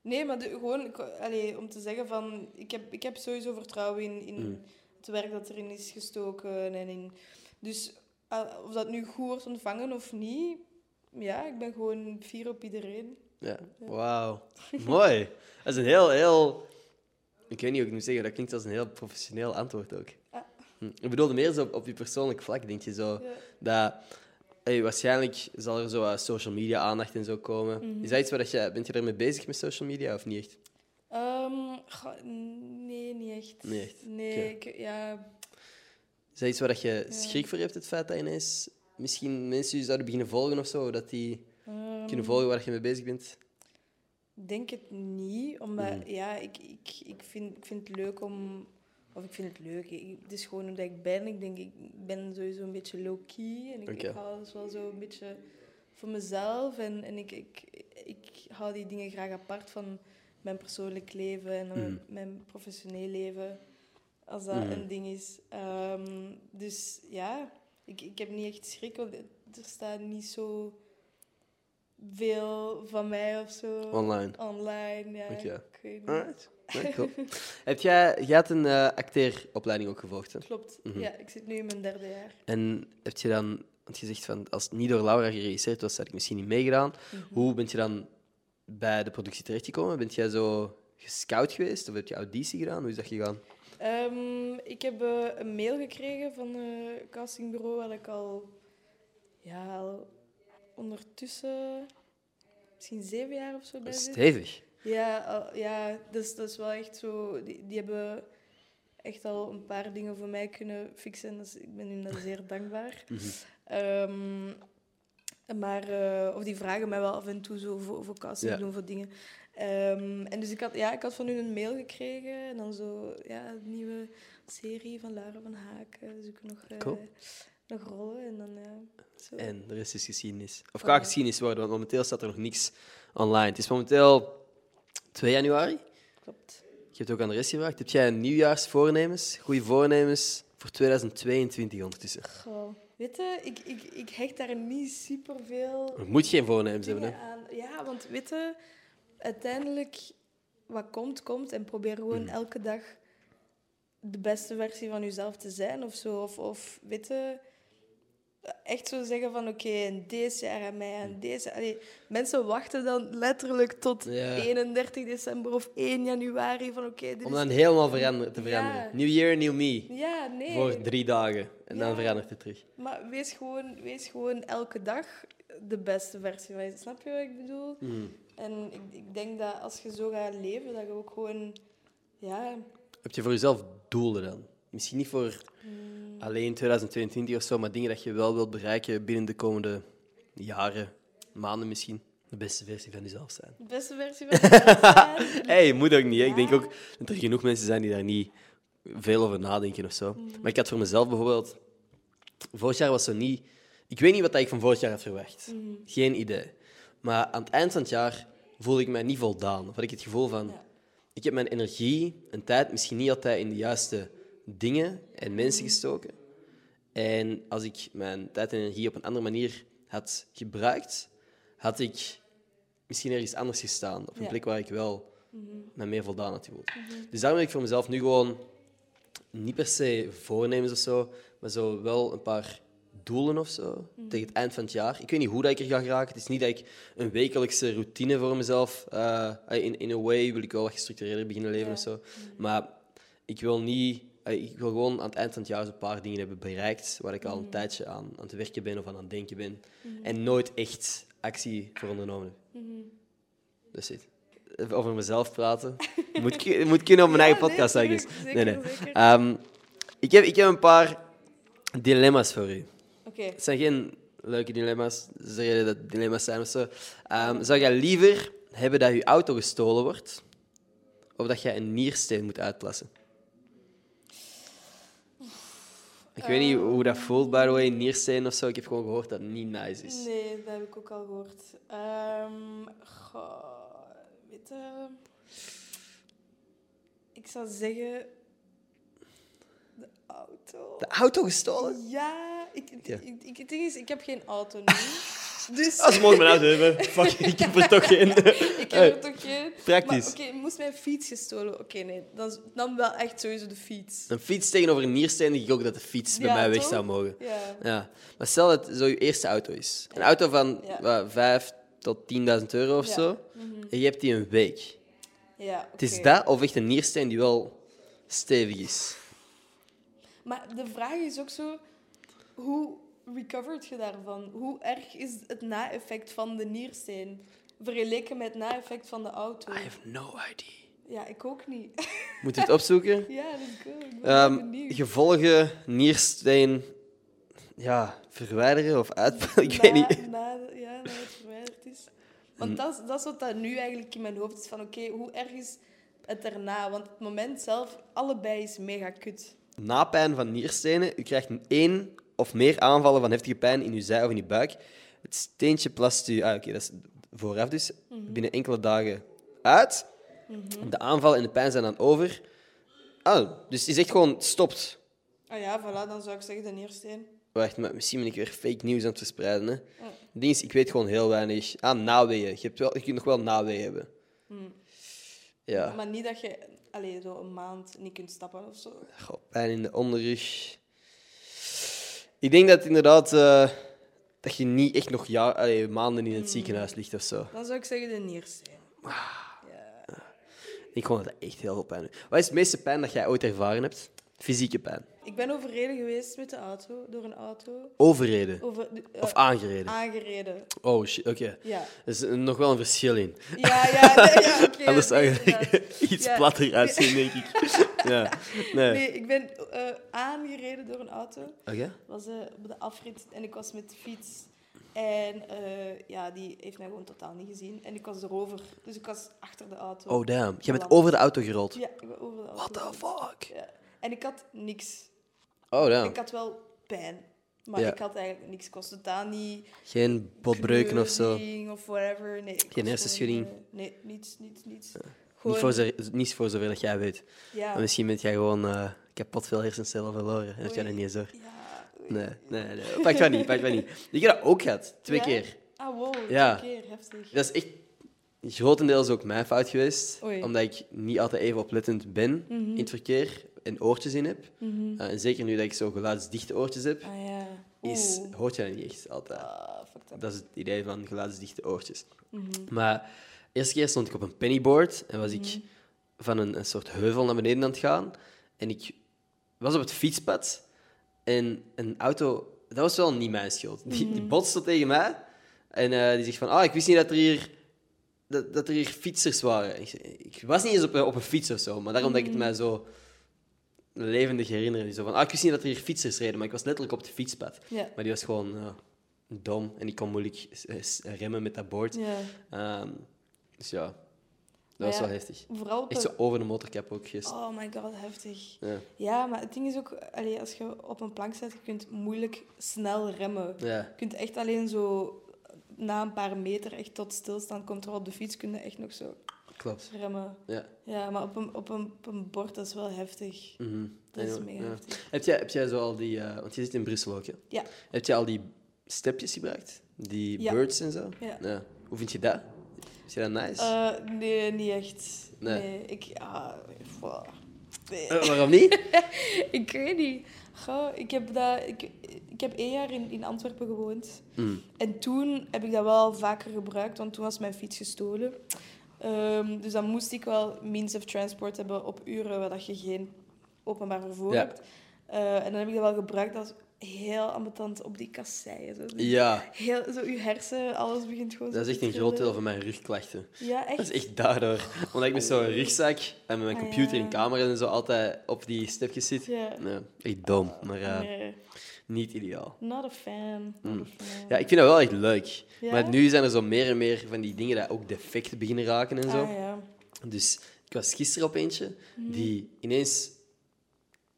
nee, maar de- gewoon ik- allee, om te zeggen van... Ik heb, ik heb sowieso vertrouwen in, in Mm. het werk dat erin is gestoken. En in, dus ah, of dat nu goed wordt ontvangen of niet... Ja, ik ben gewoon fier op iedereen. Ja. Wauw. Mooi. Dat is een heel, heel... Ik weet niet hoe ik het moet zeggen, dat klinkt als een heel professioneel antwoord ook. Ah. Hm. Ik bedoelde meer zo op, op je persoonlijk vlak, denk je zo. Ja. Dat, hey, waarschijnlijk zal er zo eh, social media aandacht en zo komen. Is dat iets waar dat je... Bent je daarmee bezig met social media of niet echt? Ehm, goh, nee, niet echt. Niet echt? Nee, Oké. ik- ja... Is dat iets waar dat je schrik voor hebt, het feit dat ineens misschien mensen je zouden beginnen volgen of zo? Dat die ehm, kunnen volgen waar je mee bezig bent? denk het niet, omdat ja, ik, ik, ik, vind, ik vind het leuk om... Of ik vind het leuk, ik- het is gewoon omdat ik ben. Ik denk, ik ben sowieso een beetje low-key. En ik, Oké. ik hou alles wel zo een beetje voor mezelf. En, en ik, ik, ik hou die dingen graag apart van mijn persoonlijk leven en dan mijn, mijn professioneel leven. Als dat een ding is. Ehm, dus ja, ik, ik heb niet echt schrik, want er staat niet zo veel van mij of zo. Online. Online, ja. Oké. Ik weet niet. Alright. Nee, cool. Heb jij, jij had een eh, acteeropleiding ook gevolgd, hè? Klopt. Ja, ik zit nu in mijn derde jaar. En heb je dan, want je zegt van, als het niet door Laura geregisseerd was, had ik misschien niet meegedaan. Hoe ben je dan bij de productie terechtgekomen? Bent jij zo gescout geweest of heb je auditie gedaan? Hoe is dat gegaan? Ehm, ik heb eh, een mail gekregen van het castingbureau waar ik al, ja, al ondertussen misschien zeven jaar of zo bij Dat is zit. stevig. Ja, al- ja dat, is, dat is wel echt zo. Die, die hebben echt al een paar dingen voor mij kunnen fixen. Dus ik ben hun daar zeer dankbaar. Mhm. Ehm, maar, eh, of die vragen mij wel af en toe zo voor, voor casting Ja. doen voor dingen. Ehm, en dus ik had, ja, ik had van hun een mail gekregen. En dan zo, ja, een nieuwe serie van Lara van Haak. eh, zoeken nog, eh, Cool. nog rollen. En dan, ja, zo. En de rest is geschiedenis. Of gaat geschiedenis worden, want momenteel staat er nog niks online. Het is momenteel 2 januari. Klopt. Je hebt ook aan de rest gevraagd. Heb jij nieuwjaarsvoornemens, goede voornemens voor 2022 ondertussen? Goh. Weet je, ik, ik, ik hecht daar niet superveel Je moet geen voornemens hebben, hè? dingen aan. Ja, want weet je, uiteindelijk wat komt, komt. En probeer Mm. gewoon elke dag de beste versie van jezelf te zijn of zo. Of, of weet je, echt zo zeggen van oké, en deze jaar aan mij, Mm. en deze... Allee, mensen wachten dan letterlijk tot Ja. 31 december of 1 januari van oké, dit Om is... dan helemaal verander- te Ja. veranderen. New year, new me. Ja, nee. Voor drie dagen. En dan Ja. verandert het terug. Maar wees gewoon, wees gewoon elke dag de beste versie van je. Snap je wat ik bedoel? Hmm. En ik, ik denk dat als je zo gaat leven, dat je ook gewoon... Ja, Heb je voor jezelf doelen dan? Misschien niet voor Hmm. alleen 2022 of zo, maar dingen dat je wel wilt bereiken binnen de komende jaren, maanden misschien. De beste versie van jezelf zijn. de beste versie van jezelf. Hé, hey, moet ook niet. hè. Ik denk ook dat er genoeg mensen zijn die daar niet veel over nadenken of Mm. zo. Maar ik had voor mezelf bijvoorbeeld... Vorig jaar was zo niet... Mm. Ik weet niet wat ik van vorig jaar had verwacht. Geen idee. Maar aan het eind van het jaar voelde ik mij niet voldaan. Of had ik het gevoel van, Ja. ik heb mijn energie en tijd misschien niet altijd in de juiste dingen Mm. en mensen gestoken. En als ik mijn tijd en energie op een andere manier had gebruikt, had ik misschien ergens anders gestaan. Op een Ja. plek waar ik wel me meer voldaan had gevoeld. Dus daarom heb ik voor mezelf nu gewoon niet per se voornemens of zo, maar zo wel een paar doelen of zo tegen het eind van het jaar. Ik weet niet hoe dat ik er ga geraken. Het is niet dat ik een wekelijkse routine voor mezelf. eh, in, in a way wil ik wel wat gestructureerder beginnen leven Ja. of zo. Maar ik wil niet. eh, Ik wil gewoon aan het eind van het jaar zo'n paar dingen hebben bereikt waar ik al Mhm. een tijdje aan, aan het werken ben of aan aan het denken ben. En nooit echt actie voor ondernomen heb. Mhm. Dat is het. Even over mezelf praten. moet, ki- moet kunnen op mijn eigen podcast, I guess. Zeker, Nee, nee. zeker. Ehm, ik, heb, ik heb een paar dilemma's voor u. Oké. Het zijn geen leuke dilemma's. Dat is de reden dat het dilemma's zijn of zo. Ehm, zou jij liever hebben dat je auto gestolen wordt? Of dat jij een niersteen moet uitplassen? Ik weet niet hoe dat voelt, by the way, niersteen of zo. Ik heb gewoon gehoord dat het niet nice is. Nee, dat heb ik ook al gehoord. Ehm goh, weet je, Ik zou zeggen... De auto. De auto gestolen? Ja, ik, Ja. Oh. Ik, ik, het ding is, ik heb geen auto nu. dus Als ze mogen mijn auto hebben. Fuck, ik heb er toch geen. ik heb er toch geen... Praktisch. Maar Oké, moest mijn fiets gestolen? Oké, nee. Dan, is- dan wel echt sowieso de fiets. Een fiets tegenover een niersteen, denk ik ook dat de fiets bij Ja, mij weg toch? zou mogen. Ja. Ja, maar stel dat het zo je eerste auto is. Een auto van Ja. wat, 5 tot 10.000 euro of Ja. zo. En je hebt die een week. ja oké. Het is dat of echt een niersteen die wel stevig is. Maar de vraag is ook zo, hoe recovered je daarvan? Hoe erg is het na-effect van de niersteen? Vergeleken met het na-effect van de auto. I have no idea. Ja, ik ook niet. Moet je het opzoeken? ja, let's go. Ik ben Ehm, wel benieuwd. gevolgen, niersteen, ja, verwijderen of uitpakken, ik Na- weet niet. Mm. Na, ja, dat het verwijderd is. Want dat, is- dat is wat dat nu eigenlijk in mijn hoofd is. Van oké, hoe erg is het daarna? Want het moment zelf, allebei is mega kut. Na pijn van nierstenen, u krijgt een één of meer aanvallen van heftige pijn in uw zij of in uw buik. Het steentje plast u, ah, oké, dat is vooraf dus, binnen enkele dagen uit. De aanvallen en de pijn zijn dan over. Ah, dus het is echt gewoon, het stopt. Ah ja, voilà, dan zou ik zeggen de niersteen. Wacht, maar misschien ben ik weer fake nieuws aan het verspreiden. Hè. Het ding is, ik weet gewoon heel weinig. Ah, naweeën. Je, hebt wel, je kunt nog wel naweeën hebben. Ja. Maar niet dat je allee, zo een maand niet kunt stappen of zo. Goh, pijn in de onderrug. Ik denk dat inderdaad eh, dat je niet echt nog jaar, allee, maanden Mm. in het ziekenhuis ligt of zo. Dan zou ik zeggen de niersteen. Ik vond dat echt heel veel pijn doet. Wat is het meeste pijn dat jij ooit ervaren hebt? Fysieke pijn. Ik ben overreden geweest met de auto, door een auto. Overreden. Over, de- eh, Of aangereden. aangereden. Oh shit, oké. Ja. Er is eh, nog wel een verschil in. Ja, ja, nee, ja oké. Anders zou nee, je inderdaad. er iets Ja. platter uitzien, denk ik. ja. Nee. Nee, ik ben eh, aangereden door een auto. Oké. was eh, op de afrit en ik was met de fiets. En eh, ja, die heeft mij gewoon totaal niet gezien. En ik was erover. Dus ik was achter de auto. Oh damn. Jij bent Geland. over de auto gerold. Ja, ik ben over de What auto. the fuck? Ja. En ik had niks. Oh Ik damn. had wel pijn. Maar Ja. ik had eigenlijk niks. Ik was totaal niet... Geen botbreuken of zo. kneuring Of whatever. Nee, ik was hersenschudding? gewoon, eh, Nee, niets, niets, niets. Niet Gewoon- voor, zo- niet voor zover dat jij weet. Ja. Maar misschien bent jij gewoon eh, kapot veel hersencellen verloren. En heb jij dat Oei. niet eens door. Ja. Nee, nee, nee. Pak dat niet, pak dat niet. Ik heb dat ook gehad. Twee Ja? keer. Ah, wow. Ja. Twee keer. Heftig. Dat is echt grotendeels ook mijn fout geweest. Oei. Mhm. Omdat ik niet altijd even oplettend ben in het verkeer. En oortjes in heb. Eh, en zeker nu dat ik zo geluidsdichte oortjes heb, Ah, ja. is, Oeh. hoort je dat niet echt altijd. Ah, fucked up. Dat is het idee van geluidsdichte oortjes. Maar de eerste keer stond ik op een pennyboard en was ik van een, een soort heuvel naar beneden aan het gaan. En ik was op het fietspad en een auto, dat was wel niet mijn schuld. Die, die botste tegen mij en eh, die zegt van, ah, ik wist niet dat er hier, dat, dat er hier fietsers waren. Ik, zei, ik was niet eens op, een- op een fiets of zo, maar daarom dat ik het mij zo levendig herinner. Zo van, ah, ik wist niet dat er hier fietsers reden, maar ik was letterlijk op het fietspad. Ja. Maar die was gewoon ja, dom en ik kon moeilijk eh, s- remmen met dat boord. Ja. Ehm, dus ja, dat Maar was ja, wel heftig. Vooral op Echt een- zo over de motorkap ook gisteren. Oh my god, heftig. Ja. Ja, maar het ding is ook, allee, als je op een plank zit, je kunt moeilijk snel remmen. Ja. Je kunt echt alleen zo na een paar meter echt tot stilstand komt, terwijl op de fiets kun je echt nog zo Klopt. remmen. Ja. Ja, maar op een, op een, op een bord, dat is wel heftig. Mhm. Dat is Ja, mega ja. heftig. Heb jij, heb jij zo al die... eh, want je zit in Brussel ook, hè? Ja. Heb jij al die stepjes gebruikt? Die Ja. birds en zo? Ja. Hoe vind je dat? Is je dat nice? Eh, nee, niet echt. Nee. Nee. Ik, ah, wow. nee. Eh, waarom niet? ik weet niet. Goh, ik, heb dat, ik, ik heb één jaar in, in Antwerpen gewoond. Mhm. En toen heb ik dat wel vaker gebruikt, want toen was mijn fiets gestolen. Ehm, dus dan moest ik wel means of transport hebben op uren waar dat je geen openbaar vervoer Ja. hebt. Eh, en dan heb ik dat wel gebruikt als heel ambetant op die kasseien. Zo. Ja. Heel, zo je hersenen, alles begint gewoon Dat is zo echt te een groot deel trillen. van mijn rugklachten. Ja, echt. Dat is echt daardoor. Omdat ik met zo'n rugzak en met mijn Ah, computer ja. en camera en zo altijd op die stepjes zit. Ja. Nee, echt dom, maar eh, Nee, niet ideaal. Not a fan. Not a fan. Ja, ik vind dat wel echt leuk. Ja? Maar nu zijn er zo meer en meer van die dingen dat ook defect beginnen raken en zo. Ah, ja. Mhm. Dus ik was gisteren op eentje die ineens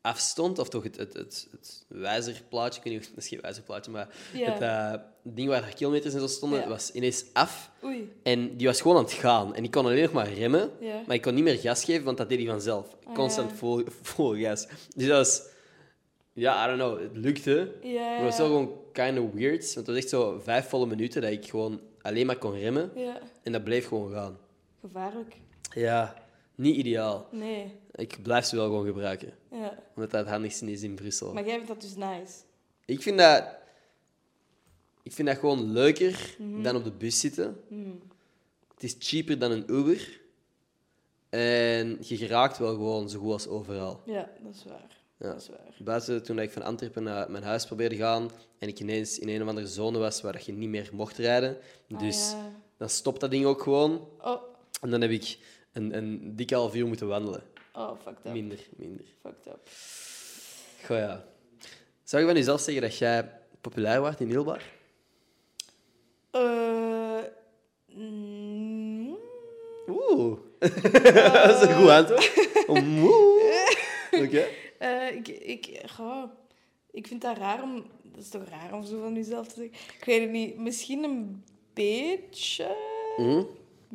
afstond, of toch het, het, het, het wijzerplaatje, ik weet niet of dat is geen wijzerplaatje, maar Ja. het eh, ding waar de kilometers en zo stonden, Ja. was ineens af. Oei. En die was gewoon aan het gaan. En ik kon alleen nog maar remmen, Ja. maar ik kon niet meer gas geven, want dat deed hij vanzelf. Ah, Constant ja. vol, vol gas. Dus dat was... Ja, I don't know. Het lukte. Ja. Maar het was wel gewoon kind of weird. Want het was echt zo vijf volle minuten dat ik gewoon alleen maar kon remmen. Ja. En dat bleef gewoon gaan. Gevaarlijk. Ja, niet ideaal. Nee. Ik blijf ze wel gewoon gebruiken. Ja. Omdat dat het handigste is in Brussel. Maar jij vindt dat dus nice. Ik vind dat... Ik vind dat gewoon leuker Mhm. dan op de bus zitten. Het is cheaper dan een Uber. En je geraakt wel gewoon zo goed als overal. Ja, dat is waar. Ja. Dat is waar. Buiten toen ik van Antwerpen naar mijn huis probeerde gaan en ik ineens in een of andere zone was waar je niet meer mocht rijden. Ah, Dus ja. dan stopt dat ding ook gewoon. Oh, En dan heb ik een, een dikke half uur moeten wandelen. oh fucked up. Minder, minder. Fucked up. Goh ja. Zou je van jezelf zeggen dat jij populair wordt in Middelbaar? Eh, mm, Oeh. dat is een goed antwoord. Oeh. Oké. eh, ik, ik, goh, ik vind dat raar om... Dat is toch raar om zo van jezelf te zeggen? Ik weet het niet. Misschien een beetje... Mhm.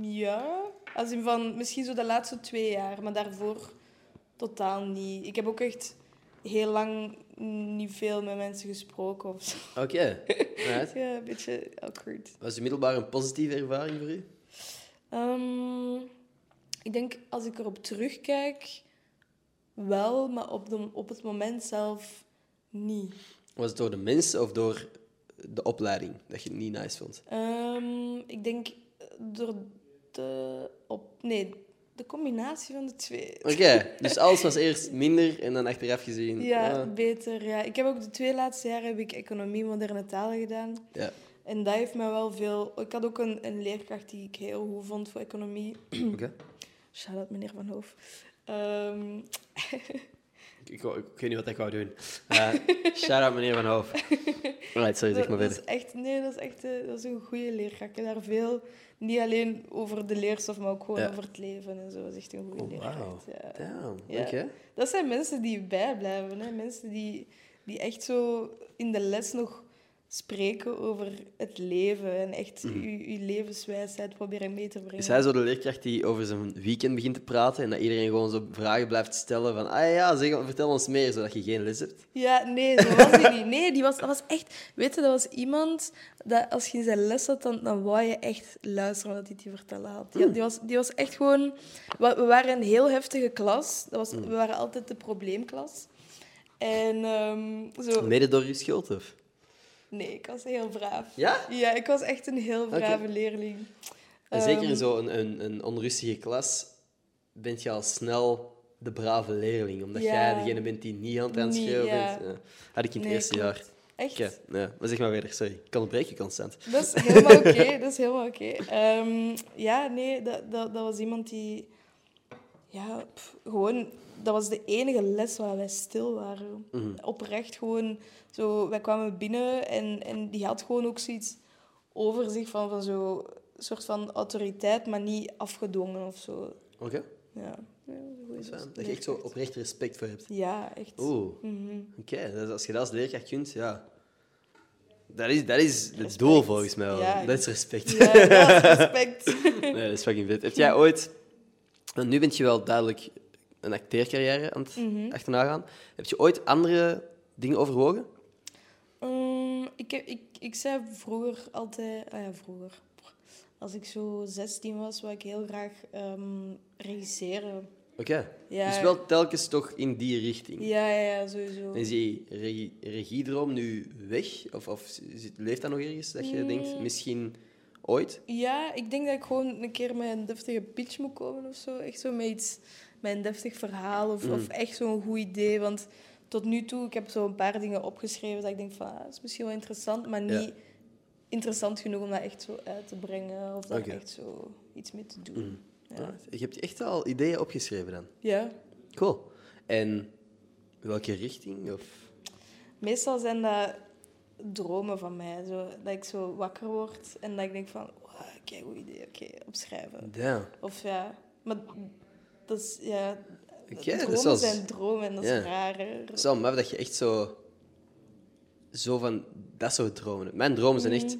Ja. Als in van... Misschien zo de laatste twee jaar. Maar daarvoor totaal niet. Ik heb ook echt heel lang niet veel met mensen gesproken of zo. Oké. Alright. Ja, een beetje awkward. Was je middelbaar een positieve ervaring voor u? Ehm, ik denk als ik erop terugkijk, wel, maar op, de, op het moment zelf niet. Was het door de mensen of door de opleiding dat je het niet nice vond? Ehm, ik denk door de. Op, nee, de combinatie van de twee. Oké, dus alles was eerst minder en dan achteraf gezien. Ja, ah, beter. Ja. Ik heb ook de twee laatste jaren heb ik economie moderne talen gedaan. ja. En dat heeft mij wel veel. Ik had ook een, een leerkracht die ik heel goed vond voor economie. Oké. Shout out meneer Van Hoof. Ehm, Ik, ik, wou- ik weet niet wat ik wou doen. Eh shout out meneer Van Hoof. Alright, sorry, zeg maar dat, dat verder. is echt, nee, dat is echt eh, dat is een goede leerkracht. Ik heb daar veel, niet alleen over de leerstof, maar ook gewoon Ja. over het leven en zo. Dat is echt een goede Oh, wauw. leerkracht. Ja. Damn, Ja. oké. Dat zijn mensen die bijblijven, hè? mensen die, die echt zo in de les nog spreken over het leven en echt uw uw levenswijsheid proberen mee te brengen. Mm. Is Dus hij zo de leerkracht die over zijn weekend begint te praten en dat iedereen gewoon zo vragen blijft stellen van ah ja, zeg, vertel ons meer, zodat je geen les hebt? Ja, nee, zo was hij niet. Nee, die was, dat was echt... Weet je, dat was iemand dat als je in zijn les zat, dan, dan wou je echt luisteren wat hij te vertellen had. Mm. Ja, die, was, die was echt gewoon... wa- We waren een heel heftige klas. Dat Mm. was, We waren altijd de probleemklas. En ehm, zo... Mede door je schuld, of? Nee, ik was heel braaf. Ja? Ja, ik was echt een heel Oké. brave leerling. En zeker in Ehm. zo'n een, een onrustige klas ben je al snel de brave leerling, omdat Ja. jij degene bent die niet aan het Niet, aanschreeuwen ja. bent. Ja. Had ik in het Nee, eerste klopt. jaar. Echt? Oké, ja. maar zeg maar verder, sorry. Ik kan breken constant. Dat is helemaal oké. dat is helemaal oké. Ehm, ja, nee, dat, dat, dat was iemand die... Ja, pff, gewoon... Dat was de enige les waar wij stil waren. Mhm. Oprecht gewoon... Zo, wij kwamen binnen en, en die had gewoon ook zoiets over zich van, van zo'n soort van autoriteit, maar niet afgedwongen of zo. Oké, Ja, ja dat is een goeie dat is les. fijn. Dat je echt zo oprecht respect voor hebt. Ja, echt. Oeh, Mhm. oké. dus Als je dat als leerkracht kunt, ja. Dat is, dat is het Respect. doel volgens mij wel. Ja, ik- dat is respect. Ja, dat is respect. Nee, dat is fucking vet. Heb jij ooit... want nu ben je wel duidelijk een acteercarrière aan het Mhm. achterna gaan. Heb je ooit andere dingen overwogen? Ehm, ik, heb, ik, ik zei vroeger altijd... Ah ja, vroeger. Als ik zo 16 was, wou ik heel graag ehm, regisseren. Oké. Ja. Dus wel telkens toch in die richting. Ja, ja, ja, sowieso. En is die regie- regiedroom nu weg? Of, of zit- leeft dat nog ergens? Dat je denkt, misschien ooit? Ja, ik denk dat ik gewoon een keer met een deftige pitch moet komen of zo. Echt zo met iets, met een deftig verhaal of, Mm. of echt zo'n goed idee. Want tot nu toe, ik heb zo een paar dingen opgeschreven dat ik denk van, ah, dat is misschien wel interessant, maar Ja. niet interessant genoeg om dat echt zo uit te brengen of daar Oké. Mm. echt zo iets mee te doen. Ja. Alright. Ah, Je hebt echt al ideeën opgeschreven dan. ja, Cool. En welke richting? Of... meestal zijn dat dromen van mij. Zo, dat ik zo wakker word en dat ik denk van, wow, kijk, goed idee, oké, opschrijven. Damn. Of ja, maar dat is ja. Oké, dus dat dromen is wel z- zijn dromen en dat is ja. raar. hè. Het is wel maf dat je echt zo, zo van dat soort dromen hebt. Mijn dromen zijn Mhm. echt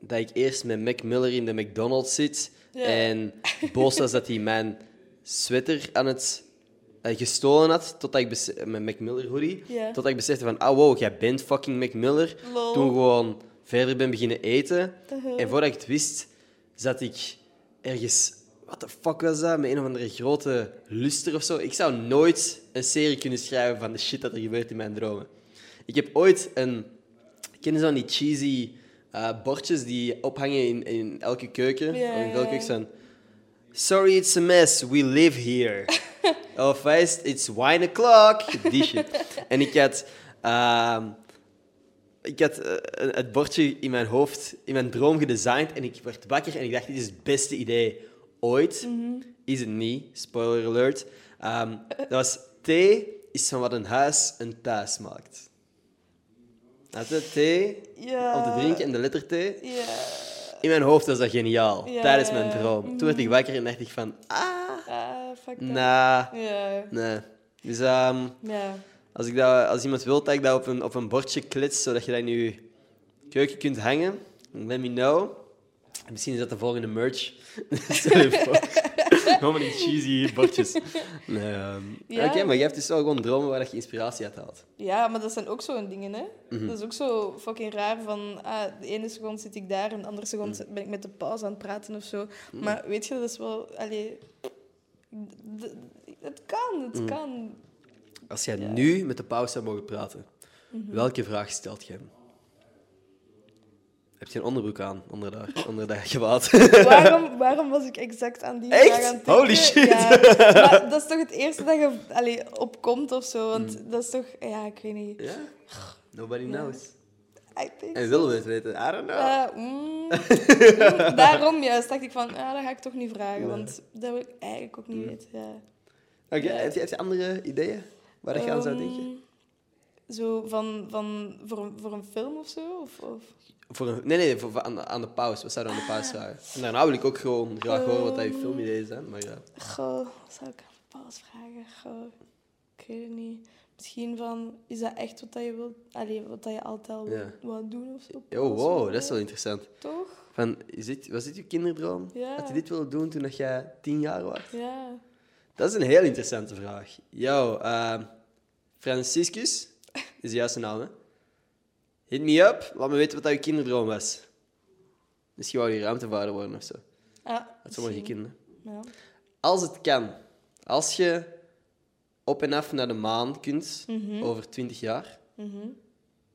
dat ik eerst met Mac Miller in de McDonald's zit Ja. en boos was dat hij mijn sweater aan het eh, gestolen had, totdat ik bese- mijn Mac Miller hoodie, Ja. totdat ik besefte van, ah wow, jij bent fucking Mac Miller. Lol. Uh-huh. Toen gewoon verder ben beginnen eten. En voordat ik het wist, zat ik ergens... What the fuck was dat? Met een of andere grote luster of zo. Ik zou nooit een serie kunnen schrijven van de shit dat er gebeurt in mijn dromen. Ik heb ooit een... Ken je zo'n die cheesy eh, bordjes die ophangen in, in elke keuken? Ja, Of in ja. elke keuken zijn... Sorry, it's a mess. We live here. of hij is, it's wine o'clock. Die shit. en ik had... ehm, ik had eh, een- het bordje in mijn hoofd, in mijn droom gedesigned. En ik werd wakker en ik dacht, dit is het beste idee ooit. Mhm. Is het niet. Spoiler alert. Ehm, dat was thee is van wat een huis een thuis maakt. Had je thee Ja. om te drinken en de letter T. Ja, In mijn hoofd was dat geniaal. Ja, Tijdens ja, mijn ja. Mhm. droom. Toen werd ik wakker en dacht ik van, ah, ah, fuck dat. nah, Ja, nee. Dus ehm, ja. als, ik dat, als iemand wil dat ik dat op een, op een bordje klits, zodat je dat in je keuken kunt hangen, let me know. En Misschien is dat de volgende merch. Stel je voor. Gewoon van die cheesy bordjes. Nee, ehm, Ja. Oké, maar je hebt dus wel gewoon dromen waar dat je inspiratie uit haalt. Ja, maar dat zijn ook zo'n dingen, hè. Mhm. Dat is ook zo fucking raar van... Ah, de ene seconde zit ik daar en de andere seconde Mhm. zit- ben ik met de pauze aan het praten of zo. Maar weet je, dat is wel... Allee, d- d- het kan, Mhm. het kan. Als jij nu met de pauze zou mogen praten, welke vraag stelt je hem? Heb je een onderbroek aan onder dat, onder dat gewaad? waarom, waarom was ik exact aan die Echt? vraag aan het denken? Holy shit. Ja, maar dat is toch het eerste dat je allee, opkomt of zo? Mhm. Want dat is toch... Ja, ik weet niet. ja? Nobody knows. I think En willen we het weten? I don't know. Eh, mm, mm, daarom juist dacht ik van, ah, dat ga ik toch niet vragen, want dat wil ik eigenlijk ook niet weten. Ja. Oké, heb, je, heb je andere ideeën waar dat je aan zou denken? Ehm, Zo van, van voor, een, voor een film of zo? Of, of? Voor een, nee, nee, voor, voor aan, de- aan de pauze. Wat zou je aan de pauze vragen? En daarna wil ik ook gewoon graag horen wat dat je filmideeën zijn. Maar ja. Goh, wat zou ik aan Paus vragen? Goh, ik weet het niet. Misschien van, is dat echt wat dat je wilt, allee, wat dat je altijd al Ja. wou doen of zo? Oh, Paus wow, worden? dat is wel interessant. Toch? Van, is dit, was dit je kinderdroom? Ja. Had je dit willen doen toen dat jij tien jaar was? Ja. Dat is een heel interessante vraag. Yo, ehm, Franciscus, is de juiste naam, hè? Hit me up, laat me weten wat dat je kinderdroom was. Misschien wou je ruimtevaarder worden of zo. Ah, Dat sommige misschien. kinderen. Ja. Als het kan, als je op en af naar de maan kunt Mhm. over 20 jaar,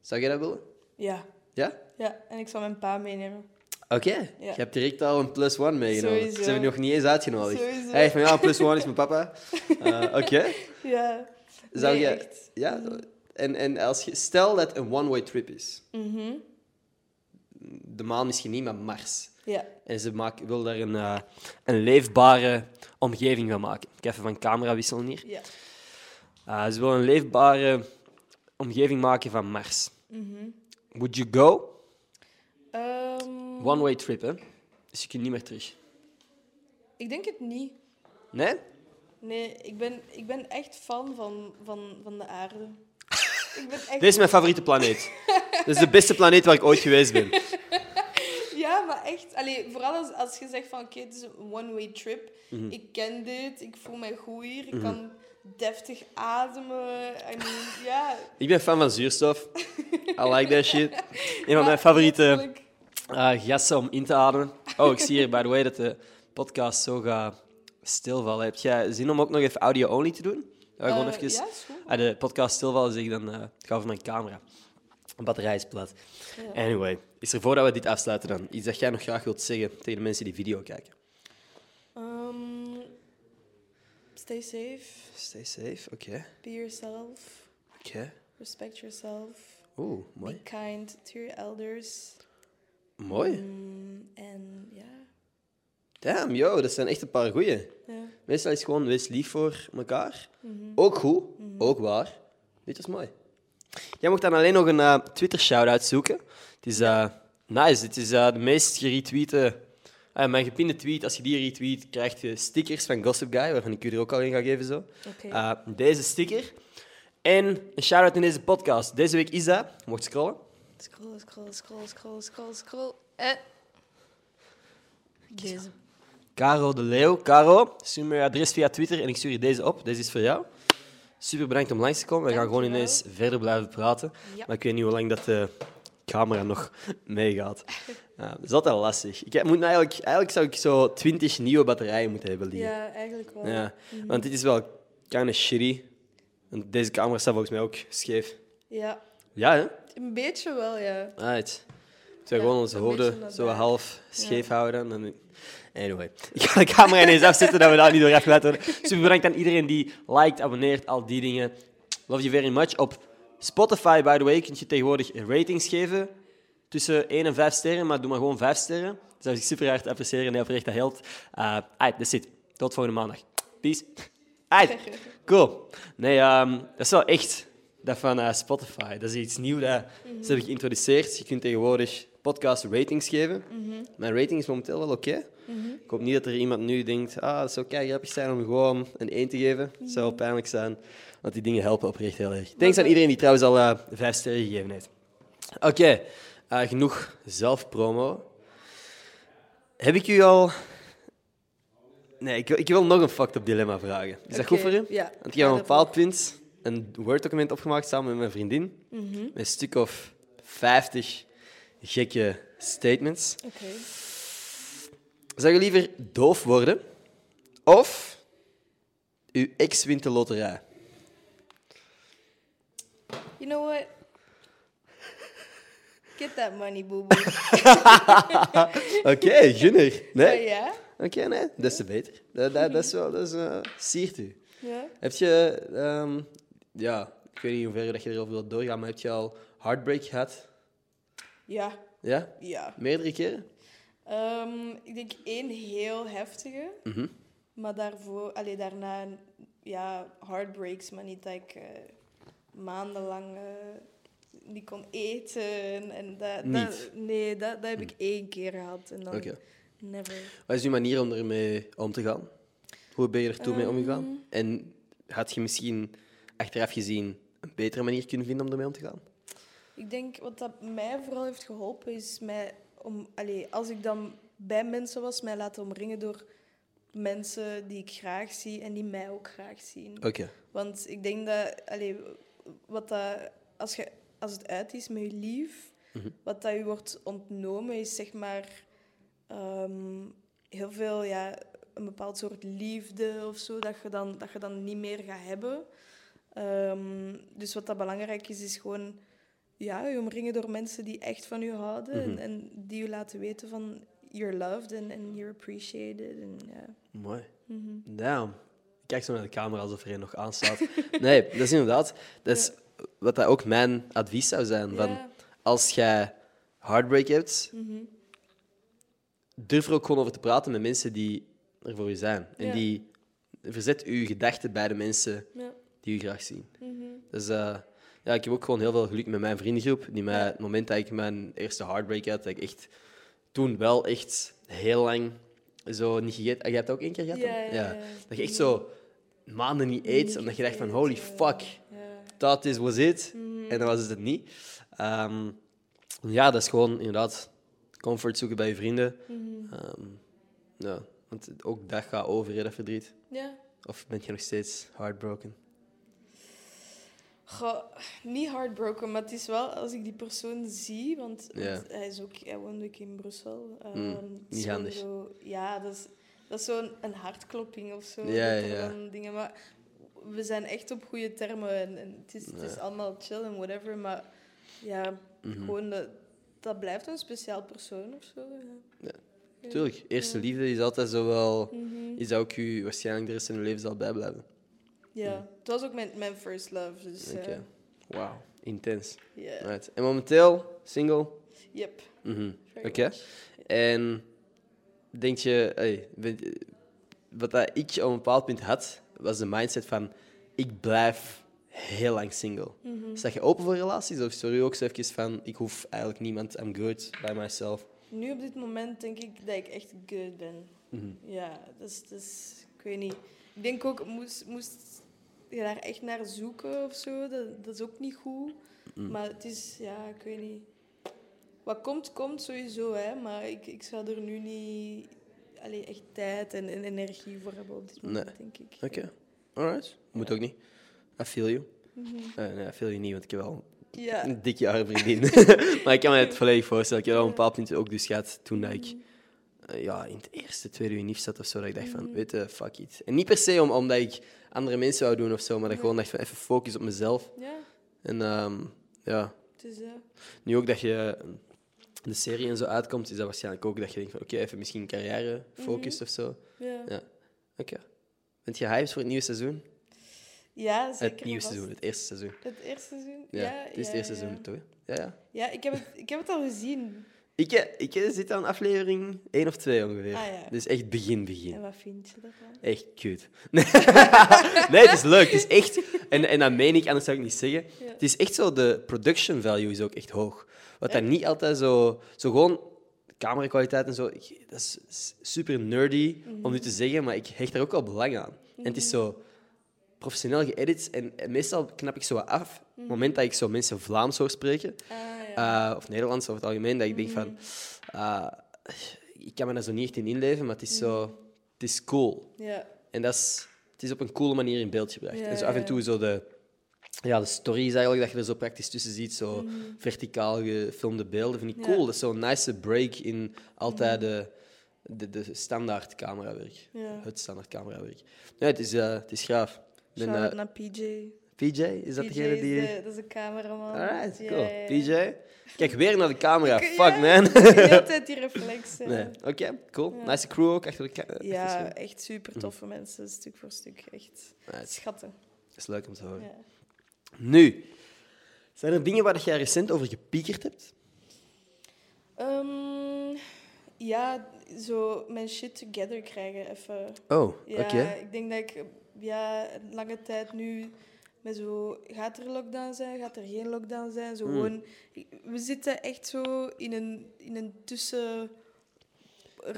zou jij dat willen? ja. Ja? Ja, en ik zal mijn pa meenemen. Oké, Ja. je hebt direct al een plus one meegenomen. Sowieso. Ze hebben je nog niet eens uitgenodigd. Sowieso. Hij heeft van ja, een plus one is mijn papa. Eh, Oké. Ja. Zou Nee, je... echt. Ja, en, en als je... Stel dat het een one-way trip is. Mhm. De maan misschien niet, maar Mars. Ja. En ze maak, wil daar een, eh, een leefbare omgeving van maken. Ik ga even van camera wisselen hier. Ja. Eh, ze wil een leefbare omgeving maken van Mars. Would you go? Ehm, One-way trip, hè? Dus je kunt niet meer terug. ik denk het niet. Nee? Nee, ik ben, ik ben echt fan van, van, van de aarde. Ik ben echt... Dit is mijn favoriete planeet. Dit is de beste planeet waar ik ooit geweest ben. Ja, maar echt. Allee, vooral als, als je zegt van oké, het is een one-way trip. Mhm. Ik ken dit, ik voel mij goed hier, ik kan deftig ademen. I mean, ja. Ik ben fan van zuurstof. I like that shit. Een van mijn favoriete Natuurlijk. eh, gassen om in te ademen. Oh, ik zie hier, by the way, dat de podcast zo gaat stilvallen. Heb jij zin om ook nog even audio-only te doen? Ja, gewoon Eh, even... ja, is goed. Ah, de podcast stilvallen, zeg ik dan... eh het gaat over mijn camera. Mijn batterij is plat. Anyway, is er voordat we dit afsluiten dan iets dat jij nog graag wilt zeggen tegen de mensen die video kijken? Ehm, stay safe, Stay safe, oké. be yourself, Oké. respect yourself, Oeh, mooi. be kind to your elders. Mooi. Mm, En ja, Damn, yo, dat zijn echt een paar goeie. ja. Mhm. Meestal is gewoon wees lief voor elkaar. Ook goed, ook waar. Dit is mooi. Jij mocht dan alleen nog een eh, Twitter shout-out zoeken. Het is eh, nice. Het is eh, de meest geretweete. ah, mijn gepinde tweet, als je die retweet, krijg je stickers van Gossip Guy, waarvan ik u er ook al in ga geven. Zo. Oké. Eh, deze sticker. En een shout-out in deze podcast. Deze week is dat. Je mocht scrollen. Scroll, scroll, scroll, scroll, scroll, scroll. Eh. Deze. Caro de Leeuw. Caro, stuur me je adres via Twitter en ik stuur je deze op. Deze is voor jou. Super bedankt om langs te komen. We gaan gewoon Dankjewel. ineens verder blijven praten. Ja. Maar ik weet niet hoe lang dat de camera nog meegaat. Ja, dat is altijd lastig. Ik moet eigenlijk, eigenlijk zou ik zo 20 nieuwe batterijen moeten hebben liggen. Ja, Mhm. eigenlijk wel. Ja, Want dit is wel kind of shitty. En deze camera staat volgens mij ook scheef. Ja, Ja, hè? een beetje wel, ja. Right. Als we Ja, gewoon onze een beetje hoofden naar zo daar. half scheef houden. Dan... Anyway, ik ga de camera ineens afzetten dat we daar niet door afgeleid worden. Super bedankt aan iedereen die liked, abonneert, al die dingen. Love you very much. Op Spotify, by the way, kun je tegenwoordig ratings geven. Tussen 1 en 5 sterren, maar doe maar gewoon 5 sterren. Dat zou ik super hard appreciëren en oprecht dat helpt. Eh uit, that's it. Tot volgende maandag. Peace. Uit. Cool. Nee, ehm, dat is wel echt dat van eh, Spotify. Dat is iets nieuws dat ze hebben geïntroduceerd. Je kunt tegenwoordig podcast ratings geven. Mijn rating is momenteel wel oké. Ik hoop niet dat er iemand nu denkt, ah, dat zou kei grappig zijn om gewoon een 1 te geven. Dat zou wel pijnlijk zijn, want die dingen helpen oprecht heel erg. Thanks aan iedereen die trouwens al eh, vijf 5 sterren gegeven heeft. Oké, eh, genoeg zelfpromo. Heb ik u al... Nee, ik, wil- ik wil nog een fucked-up dilemma vragen. Is dat goed voor u? ja. Want ik heb op een Ja, dat bepaald punt een Word-document opgemaakt samen met mijn vriendin. Mhm. Met een stuk of 50 gekke statements. Oké. Zou je liever doof worden of uw ex wint de loterij? You know what? Get that money, boo boo. Oké, gunner. Nee? Oh, ja? Oké, nee, dat is te beter. Dat, dat, dat is wel, dat is, eh, siert u. Ja. Heb je, ehm, ja, ik weet niet hoe ver dat je erover wilt doorgaan, maar heb je al heartbreak gehad? Ja, Ja? ja. Meerdere keren? Ehm, ik denk één heel heftige. Maar daarvoor, allee, daarna, ja, heartbreaks, maar niet dat ik eh, maandenlang eh, niet kon eten. En dat, Niet? Hm. Dat, nee, dat, dat heb ik één keer gehad. En dan Oké. never. Wat is uw manier om ermee om te gaan? Hoe ben je er toen mee omgegaan? En had je misschien achteraf gezien een betere manier kunnen vinden om ermee om te gaan? Ik denk wat dat mij vooral heeft geholpen is mij om, allee, als ik dan bij mensen was, mij laten omringen door mensen die ik graag zie en die mij ook graag zien. Oké. Want ik denk dat, allee, wat dat, als, je, als het uit is met je lief, wat dat je wordt ontnomen is zeg maar ehm, heel veel, ja, een bepaald soort liefde of zo, dat je dan, dat je dan niet meer gaat hebben. Ehm, dus wat dat belangrijk is, is gewoon ja, je omringen door mensen die echt van je houden en- en, die je laten weten van you're loved and, and you're appreciated. En, ja. Mooi. Mhm. Damn. Ik kijk zo naar de camera alsof er een nog aanstaat. nee, dat is inderdaad... Dat is wat dat ook mijn advies zou zijn. Van, Ja. Mhm. als jij heartbreak hebt, durf er ook gewoon over te praten met mensen die er voor je zijn. En Ja. die verzet uw gedachten bij de mensen Ja. die u graag zien. Dus eh, ja, ik heb ook gewoon heel veel geluk met mijn vriendengroep. Die mij, het moment dat ik mijn eerste heartbreak had, dat ik echt toen wel echt heel lang zo niet gegeten. Ah, Je hebt dat ook één keer gehad? dan? Ja, ja, ja. Dat je echt zo maanden niet eet, omdat je dacht van gegeten, holy fuck, Ja. Mhm. dat is was it. En dat was dus het niet. Ehm, ja, dat is gewoon inderdaad comfort zoeken bij je vrienden. Mhm. Ehm, ja, want ook dat gaat over, hè, dat verdriet. Ja. Of ben je nog steeds heartbroken? Goh, niet heartbroken, maar het is wel als ik die persoon zie, want Ja. want hij, is ook, hij woont ook in Brussel. Ehm, Mm, het is niet gewoon handig. zo- ja, dat is, dat is zo'n een hartklopping of zo. Ja, dat er ja. dan dingen, maar we zijn echt op goede termen en, en het, is, het is Ja. Hmm. allemaal chill en whatever, maar ja, Mhm. gewoon dat, dat blijft een speciaal persoon of zo. Ja. Tuurlijk, eerste liefde is altijd zo wel... Is dat ook je waarschijnlijk de rest van je leven zal bijblijven. Ja, het was ook mijn, mijn first love, dus Oké. eh, ja. Wauw. Intens. Right. En momenteel single? Yep. Mhm. Oké. very much. En denk je, hey, weet- wat dat ik op een bepaald punt had, was de mindset van ik blijf heel lang single. Sta je open voor relaties of sorry ook zo even van ik hoef eigenlijk niemand, I'm good by myself. Nu op dit moment denk ik dat ik echt good ben. Ja, dus, dus ik weet niet. Ik denk ook, moest, moest je daar echt naar zoeken of zo, dat, dat is ook niet goed. Mm. Maar het is, ja, ik weet niet. Wat komt, komt sowieso, hè. Maar ik, ik zou er nu niet allee, echt tijd en, en energie voor hebben op dit moment, Nee. denk ik. Oké, alright. Moet ook niet. I feel you. Eh, nee, I feel you niet, want ik heb wel Mhm. Ja, een dikke arme vriendin. maar ik kan me het volledig voorstellen. Ik heb wel een bepaald punt ook dus gehad toen dat ik eh, ja, in het eerste, tweede uur niet zat of zo. Dat ik dacht Mm. van, weet je, fuck it. En niet per se om, omdat ik andere mensen wou doen of zo, maar dat ik gewoon dacht van, even focus op mezelf. ja, En ehm, ja, het is eh, dat. nu ook dat je de serie en zo uitkomt, is dat waarschijnlijk ook dat je denkt van, oké, even misschien carrière Mhm. focust of zo. Ja, Ja. Oké. Bent je hyped voor het nieuwe seizoen? ja zeker. het nieuwe vast. seizoen, het eerste seizoen. Het eerste seizoen? Ja, het is het eerste ja. seizoen, toch? hè? Ja, ja. Ja, ik heb het, ik heb het al gezien. Ik, eh, ik zit aan aflevering 1 of 2 ongeveer. Ah, ja. Dus echt begin, begin. En wat vind je daarvan? Echt cute. Nee, het is leuk. Het is echt... En, en dat meen ik, anders zou ik niet zeggen. Ja. Het is echt zo, de production value is ook echt hoog. Wat daar niet altijd zo... Zo gewoon, camerakwaliteit en zo, ik- dat is s- super nerdy Mhm. om nu te zeggen, maar ik hecht daar ook wel belang aan. En het is zo professioneel geëdit en en meestal knap ik zo wat af. Op het moment dat ik zo mensen Vlaams hoor spreken, Mhm. Ah, ja. Mhm. eh, of Nederlands over het algemeen, dat ik denk van... eh, ik kan me daar zo niet echt in inleven, maar het is zo... Mhm. Het is cool. ja. En dat is, het is op een coole manier in beeld gebracht. Ja, en zo af en ja. toe zo de, ja, de stories eigenlijk, dat je er zo praktisch tussen ziet. Zo verticaal gefilmde beelden. Vind ik Mhm. Ja. cool. Dat is zo'n nice break in altijd de, de, de standaard camerawerk. Ja. Het standaard camerawerk. Nee, het is, eh, het is graaf. Ik ben, Shout-out eh, naar PJ. PJ, is dat PJ degene is die... de- dat is de cameraman. Alright, Ja, cool. ja, ja. PJ. Kijk weer naar de camera. Ik- Fuck, ja, man. ik heb altijd die reflex. hè. Nee. Oké, cool. Nice crew ook. Achter de ka- achter het scherm. Ja, echt Mhm. super toffe mensen, stuk voor stuk. Echt Nice. schatten. is leuk om te horen. Ja. Nu, zijn er dingen waar jij recent over gepiekerd hebt? Ehm, ja, zo mijn shit together krijgen even. Oh, Ja, ik denk dat ik ja, een lange tijd nu met zo... Gaat er lockdown zijn? Gaat er geen lockdown zijn? Hmm. Zo gewoon... We zitten echt zo in een, in een tussen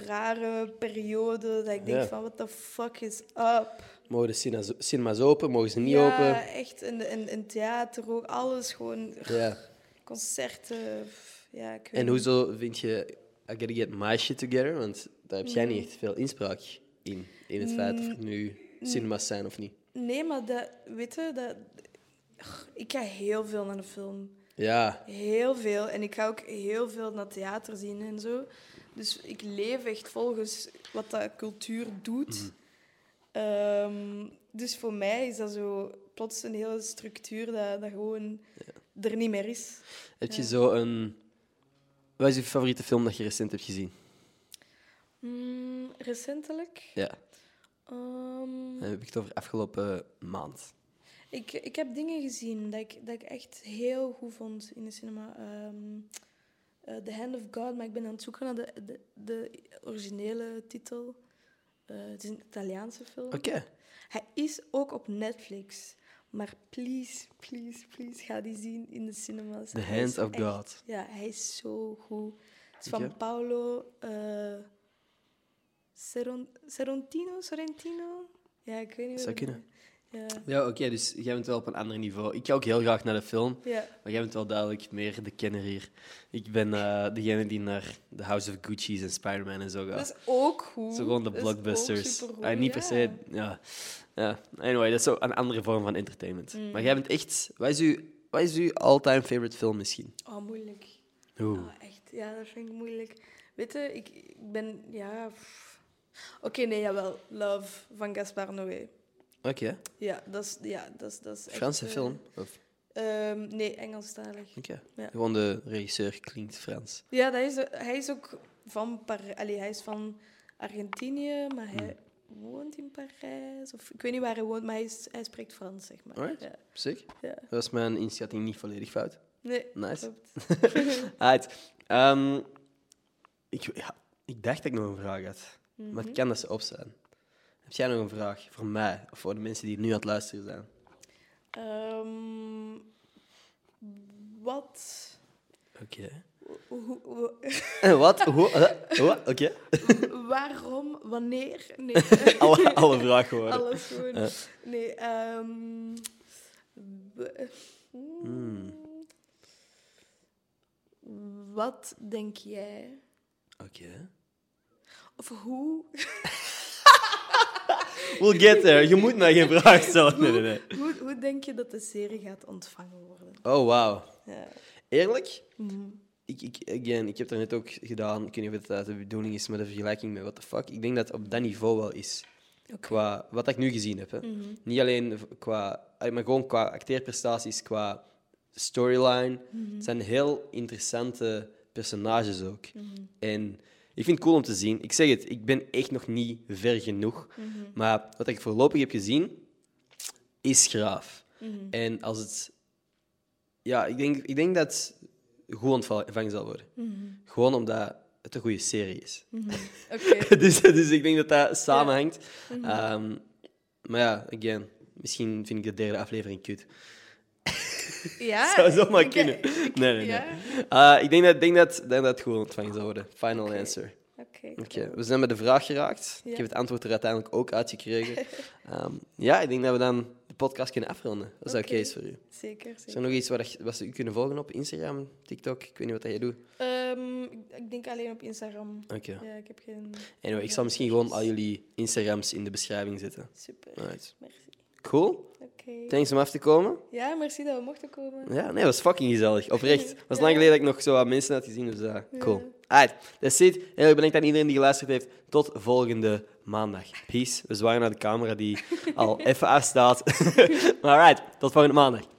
rare periode dat ik denk Ja. van what the fuck is up? Mogen de cinemas- cinema's open? Mogen ze niet ja, open? echt. En, en, en theater ook. Alles gewoon. Ja. Concerten. pff, Ja, ik weet En niet. hoezo vind je... I gotta get my shit together. Want daar heb Mm. jij niet echt veel inspraak in. In het feit of er nu Mm. cinema's zijn of niet. Nee, maar dat... Weet je, dat... Ik ga heel veel naar de film. Ja. Heel veel. En ik ga ook heel veel naar theater zien en zo. Dus ik leef echt volgens wat dat cultuur doet. Ehm, dus voor mij is dat zo plots een hele structuur dat, dat gewoon er niet meer is. Heb je zo een... Wat is je favoriete film dat je recent hebt gezien? Mm, recentelijk? Ja. Ehm, Dan heb ik het over afgelopen maand. ik, ik heb dingen gezien dat ik, dat ik echt heel goed vond in de cinema. Ehm, eh, The Hand of God, maar ik ben aan het zoeken naar de, de, de originele titel. Eh, het is een Italiaanse film. Oké. Hij is ook op Netflix. Maar please, please, please, ga die zien in de cinemas. The Hij Hand is of echt- God. Ja, hij is zo goed. Het is van Oké. Paolo eh Seron- Sorrentino, Sorrentino? Ja, ik weet niet Zou hoe dat- kunnen. Ja. Ja, oké, dus jij bent wel op een ander niveau. Ik ga ook heel graag naar de film, ja. maar jij bent wel duidelijk meer de kenner hier. Ik ben eh, degene die naar The House of Gucci's en Spider-Man en zo gaat. Dat is ook goed. Zo gewoon de Dat is ook blockbusters. supergoed, Ah, niet per ja. se. Ja. ja. Anyway, dat is zo een andere vorm van entertainment. Mm. Maar jij bent echt. Wat is uw, wat is uw all-time favorite film misschien? Oh, moeilijk. Oeh. Oh, echt. Ja, dat vind ik moeilijk. Weet je, ik, ik ben... Ja... pff. Oké, nee, jawel. Love van Gaspar Noé. Oké, Ja, dat is... Ja, dat is, dat is echt, Franse eh, film. Of, ehm, nee, Engelstalig. oké. ja. Gewoon de regisseur klinkt Frans. Ja, dat is, hij is ook van Par- allee, hij is van Argentinië, maar hij Hmm. woont in Parijs. Of, ik weet niet waar hij woont, maar hij, is, hij spreekt Frans, zeg maar. Alright. Ja, Sick. ja. Dat is mijn inschatting niet volledig fout. Nee, Nice. klopt. Alright. Ah, Ehm, ik, ja, ik dacht dat ik nog een vraag had, maar het kan dat ze op zijn. Heb jij nog een vraag voor mij of voor de mensen die nu aan het luisteren zijn? Ehm, wat... Oké. hoe- hoe- hoe- Wat? Hoe? Eh, hoe? Oké. waarom, wanneer? Nee, alle, alle vragen horen. alles gewoon. Nee, ehm, we- Hmm. Wat denk jij? Oké. Of hoe We'll get there. Je moet mij geen vraag stellen. Nee, nee, nee. Hoe, hoe denk je dat de serie gaat ontvangen worden? Oh, wauw. Ja. Eerlijk? Ik, ik, again, ik heb dat net ook gedaan. Ik weet niet of dat de bedoeling is met de vergelijking met what the fuck. Ik denk dat het op dat niveau wel is. Qua wat ik nu gezien heb. Hè. Niet alleen v- qua... allee, Maar gewoon qua acteerprestaties, qua storyline. Het zijn heel interessante personages ook. En ik vind het cool om te zien. Ik zeg het, ik ben echt nog niet ver genoeg. Maar wat ik voorlopig heb gezien, is graaf. En als het ja, ik denk, ik denk dat het goed ontvangen zal worden. Mhm. Gewoon omdat het een goede serie is. Oké. dus, dus ik denk dat dat samenhangt. Mhm. Ehm, maar ja, again, misschien vind ik de derde aflevering kut. Ja, Zou zomaar Ah, ik kunnen. denk dat- Nee, nee, nee. ja. Eh, ik denk dat, denk dat, denk dat het goed ontvangen zal worden. Final answer. Oké. Oké, we zijn met de vraag geraakt. Ja. Ik heb het antwoord er uiteindelijk ook uitgekregen. Ehm, ja, ik denk dat we dan de podcast kunnen afronden. Als dat oké Oké. is voor u. Zeker, Is zeker. er nog iets wat, wat ze u kunnen volgen op Instagram, TikTok? Ik weet niet wat dat jij doet. Ehm, ik, ik denk alleen op Instagram. Oké. Ja, ik heb geen... Anyway, ik zal misschien gewoon al jullie Instagrams in de beschrijving zetten. Super. Alright. Merci. Cool. Oké. Thanks om af te komen. Ja, merci dat we mochten komen. Ja, nee, was fucking gezellig. Oprecht. Het was lang geleden dat ik nog zo wat mensen had gezien, dus eh, cool. Alright, that's it. Heel erg bedankt aan iedereen die geluisterd heeft. Tot volgende maandag. Peace. We zwaaien naar de camera die al even afstaat. maar alright, tot volgende maandag.